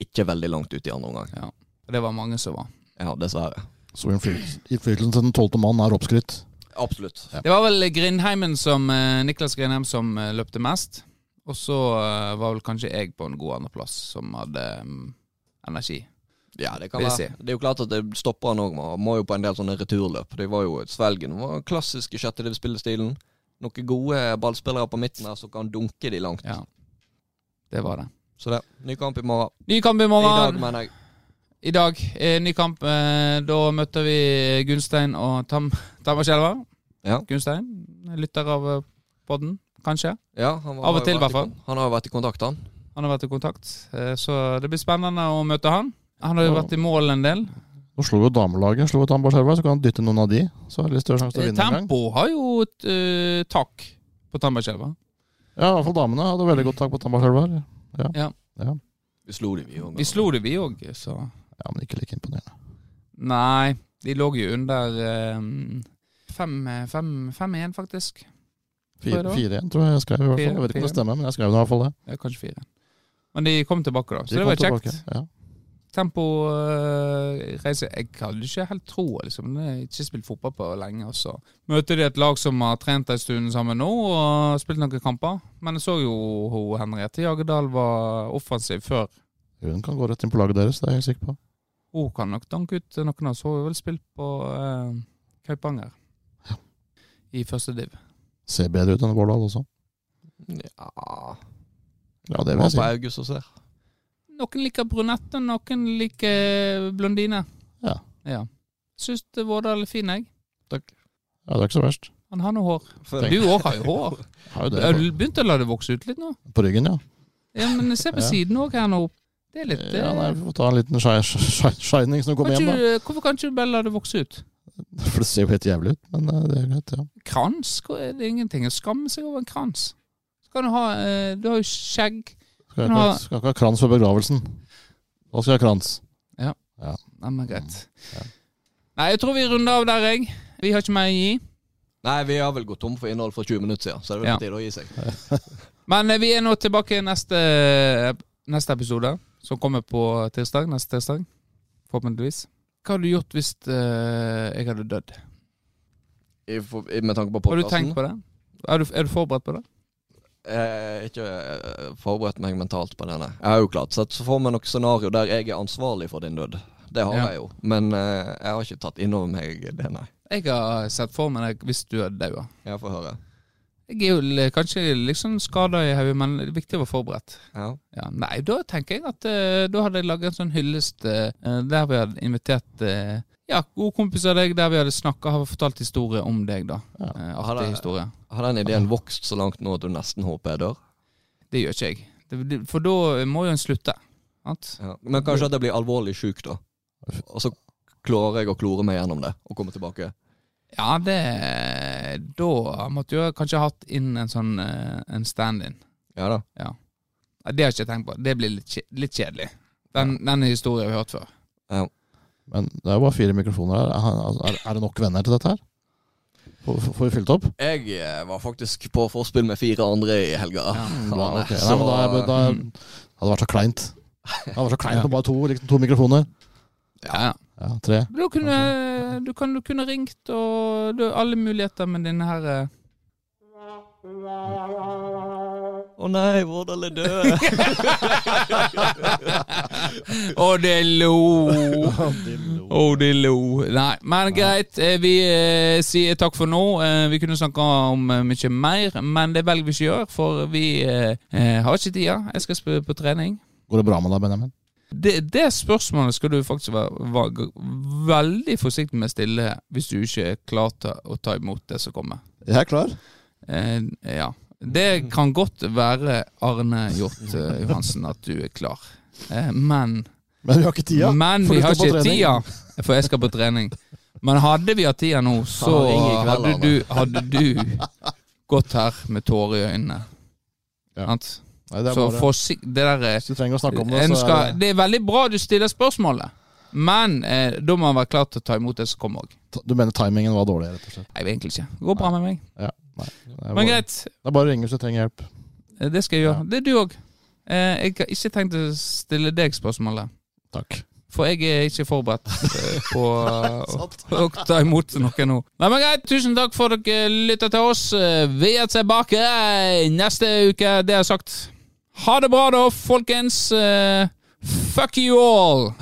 B: ikke veldig langt ut i andre omgang.
A: Det var mange som var.
B: Ja, dessverre.
C: Så innflytelsen innflytelsen til den tolvte mann er oppskrytt.
B: Absolutt.
C: Ja.
A: Det var vel Grindheimen som, eh, Niklas Grindheim som eh, løpte mest. Og så eh, var vel kanskje jeg på en god andreplass, som hadde mm, energi.
B: Ja, det kan
A: Vil
B: være.
A: si.
B: Det er jo klart at det stopper han òg med. Han må jo på en del sånne returløp. Det var jo Svelgen var den klassiske sjettedivspillestilen. Noen gode ballspillere på midten her som kan dunke de langt.
A: Ja. Det var det.
B: Så det. Ny kamp i morgen.
A: Ny kamp i
B: I dag,
A: morgen.
B: mener jeg.
A: I dag. eh, Ny kamp. eh, Da møter vi Gunstein og Tam Tamarskjelva.
B: Ja.
A: Gunstein, lytter av eh, podden, kanskje.
B: Ja, han var-
A: Av og
B: har jo
A: til,
B: vært
A: i hvert fall.
B: kon- Han har jo vært i kontakt, han.
A: Han har vært i kontakt, eh, så det blir spennende å møte han. Han har jo
C: Ja.
A: vært i mål en del.
C: Nå slo jo damelaget slo ut Ambarselva, så kan han dytte noen av de. Så er det litt større sjanse til å
A: Eh,
C: vinne en gang.
A: Tempo har jo et eh, tak på Tamberskjelva.
C: Ja, i hvert fall damene hadde veldig godt tak på Ambarselva. Ja.
A: Ja.
C: ja.
B: Vi slo dem, vi òg.
A: Vi slo det, vi òg, så
C: Ja, men ikke like imponerende.
A: Nei, de lå jo under eh, fem, fem, fem igjen, faktisk. Tror jeg det var.
C: 4-1 tror jeg jeg skrev. i hvert fall.
A: Fire-
C: Jeg vet ikke om det
A: fire.
C: stemmer, men jeg skrev det i hvert fall det.
A: Ja, kanskje fire. Men de kom tilbake, da. Så
C: De
A: det
C: kom
A: var kjekt.
C: tilbake, Ja.
A: Tempo eh, reise Jeg hadde ikke helt tro, liksom. Jeg har ikke spilt fotball på lenge. Og så møter de et lag som har trent en stund sammen nå og spilt noen kamper. Men jeg så jo hun Henriette Jagerdal var offensiv før.
C: Hun kan gå rett inn på laget deres, det er jeg helt sikker på.
A: Hun kan nok danke ut noen av oss. Hun har vel spilt på eh, Kaupanger i første div.
C: Ser bedre ut enn Vårdal også.
B: Ja,
C: Ja, det
B: det
C: vil
B: på
C: jeg si.
B: August og ser.
A: Noen liker brunette, noen liker blondine.
C: Ja.
A: ja. Syns Vårdal er fin, jeg.
C: Ja, det er ikke så verst.
A: Han har nå hår.
B: For-
A: Du òg har jo hår.
C: Har jo
A: Du
C: [LAUGHS] det
A: har
C: på,
A: begynt å la det vokse ut litt nå.
C: på ryggen, ja.
A: Ja, men se på
C: Ja.
A: siden òg her nå. Det er litt eh,
C: ja nei, vi får ta en liten shi- shi- shining som kommer
A: kan
C: hjem, da.
A: ikke du- Hvorfor kan ikke du bare la det vokse ut?
C: For det ser jo helt jævlig ut, men eh, det er greit, ja.
A: Krans hva er det ingenting. Å skamme seg over en krans. Så kan du ha eh, Du har jo skjegg.
C: Skal
A: Men
C: ikke,
A: ha-
C: ha- skal ikke ha krans for begravelsen. Da skal jeg ha krans.
A: Nei, men greit.
C: Mm, Ja.
A: Nei, jeg tror vi runder av der, jeg. Vi har ikke mer å gi.
B: Nei, vi har vel gått tom for innhold for 20 minutter siden, så det er vel
A: Ja.
B: på tide å gi seg.
A: Men eh, vi er nå tilbake i neste, neste episode, som kommer på tirsdag. Neste tirsdag, forhåpentligvis. Hva hadde du gjort hvis eh, jeg hadde dødd?
B: I, for, i, med tanke på
A: Har du tenkt
B: podkasten.
A: på det? Er du, er du forberedt på det?
B: Jeg har ikke eh, forberedt meg mentalt på denne. Jeg har jo klart sett så for meg noe scenario der jeg er ansvarlig for din død. Det har
A: Ja.
B: jeg jo. Men eh, jeg har ikke tatt innover meg det, nei.
A: Jeg har sett for meg deg hvis du hadde daua.
B: Jeg får høre.
A: Jeg er jo l- kanskje liksom skada i hodet, men det er viktig å være forberedt.
B: Ja.
A: Ja, nei, da tenker jeg at eh, da hadde jeg laget en sånn hyllest eh, der vi hadde invitert eh, ja, gode kompiser av deg, der vi hadde snakka og fortalt historier om deg, da.
C: Ja.
A: Eh,
B: Har
A: artig
B: det-
A: historie.
B: Har den ideen vokst så langt nå at du nesten håper jeg dør?
A: Det gjør ikke jeg. Det, det, for da må jo en slutte. Sant?
B: Ja. Men kanskje at jeg blir alvorlig sjuk, da. Og så klarer jeg å klore meg gjennom det og komme tilbake.
A: Ja, det Da måtte jo jeg kanskje hatt inn en sånn eh, en stand-in.
B: Ja da.
A: Nei, Det har jeg ikke tenkt på. Det blir litt, kje- litt kjedelig. Den, Denne historien har vi hørt før.
C: Men det er jo bare fire mikrofoner her. Er- altså, Er, er det nok venner til dette her? Får får vi fylt opp?
B: Jeg eh, var faktisk på forspill med fire andre i helga. [LAUGHS]
A: Ja,
C: Bra,
B: Arne,
C: ok.
B: så-
C: Nei, altså- men da, er- da [CLEARS THROAT] er-
A: Mm.
C: hadde det vært så kleint. Det hadde vært så kleint med bare to, liksom, to mikrofoner.
A: Ja, ja.
C: Ja, tre.
A: Du kunne, du kan, du kunne ringt, og du har alle muligheter med denne her eh.
B: Å nei, Vårdal er død!
A: Å, det lo! [LAUGHS] Å, det lo. Nei, men greit. eh, Vi eh, sier takk for nå. Eh, vi kunne snakka om eh, mye mer, men det velger vi ikke å gjøre, for vi eh, eh, har ikke tida. Jeg skal spille på trening.
C: Går det bra med deg, Benjamin?
A: Det, det spørsmålet skal du faktisk være, være veldig forsiktig med å stille hvis du ikke er klar til å ta imot det som kommer.
C: Jeg er klar.
A: Eh, ja. Det kan godt være, Arne Hjort eh, Johansen, at du er klar. Eh, men
C: Men vi har ikke tida.
A: men
C: for
A: vi
C: du
A: har
C: skal på
A: ikke
C: trening.
A: tida, for jeg skal på trening. Men hadde vi hatt tida nå, så
B: Han ringer i kveld,
A: hadde
C: altså.
A: du, hadde du gått her med tårer i øynene.
C: Ja.
A: Sant?
C: Nei, det er
A: Så
C: bare,
A: forsik... Det der er
C: hvis du trenger å snakke om det,
A: en
C: så
A: skal,
C: er det,
A: det er veldig bra du stiller spørsmålet, men eh, da må man være klar til å ta imot det som kommer òg.
C: Du mener timingen var dårlig, rett og slett.
A: Nei, egentlig ikke. Det går bra med meg.
C: Ja, nei. Det er
A: Men
C: bare,
A: greit,
C: det er bare å ringe hvis du trenger hjelp.
A: eh, det skal jeg gjøre. Det er du òg. Eh, jeg har ikke tenkt å stille deg spørsmålet,
C: Takk.
A: for jeg er ikke forberedt eh, på å, å ta imot noe nå. Nei, men greit, tusen takk for at dere lytter til oss. Eh, Vi er tilbake neste uke, det er sagt. Ha det bra da, folkens. Eh, Fuck you all!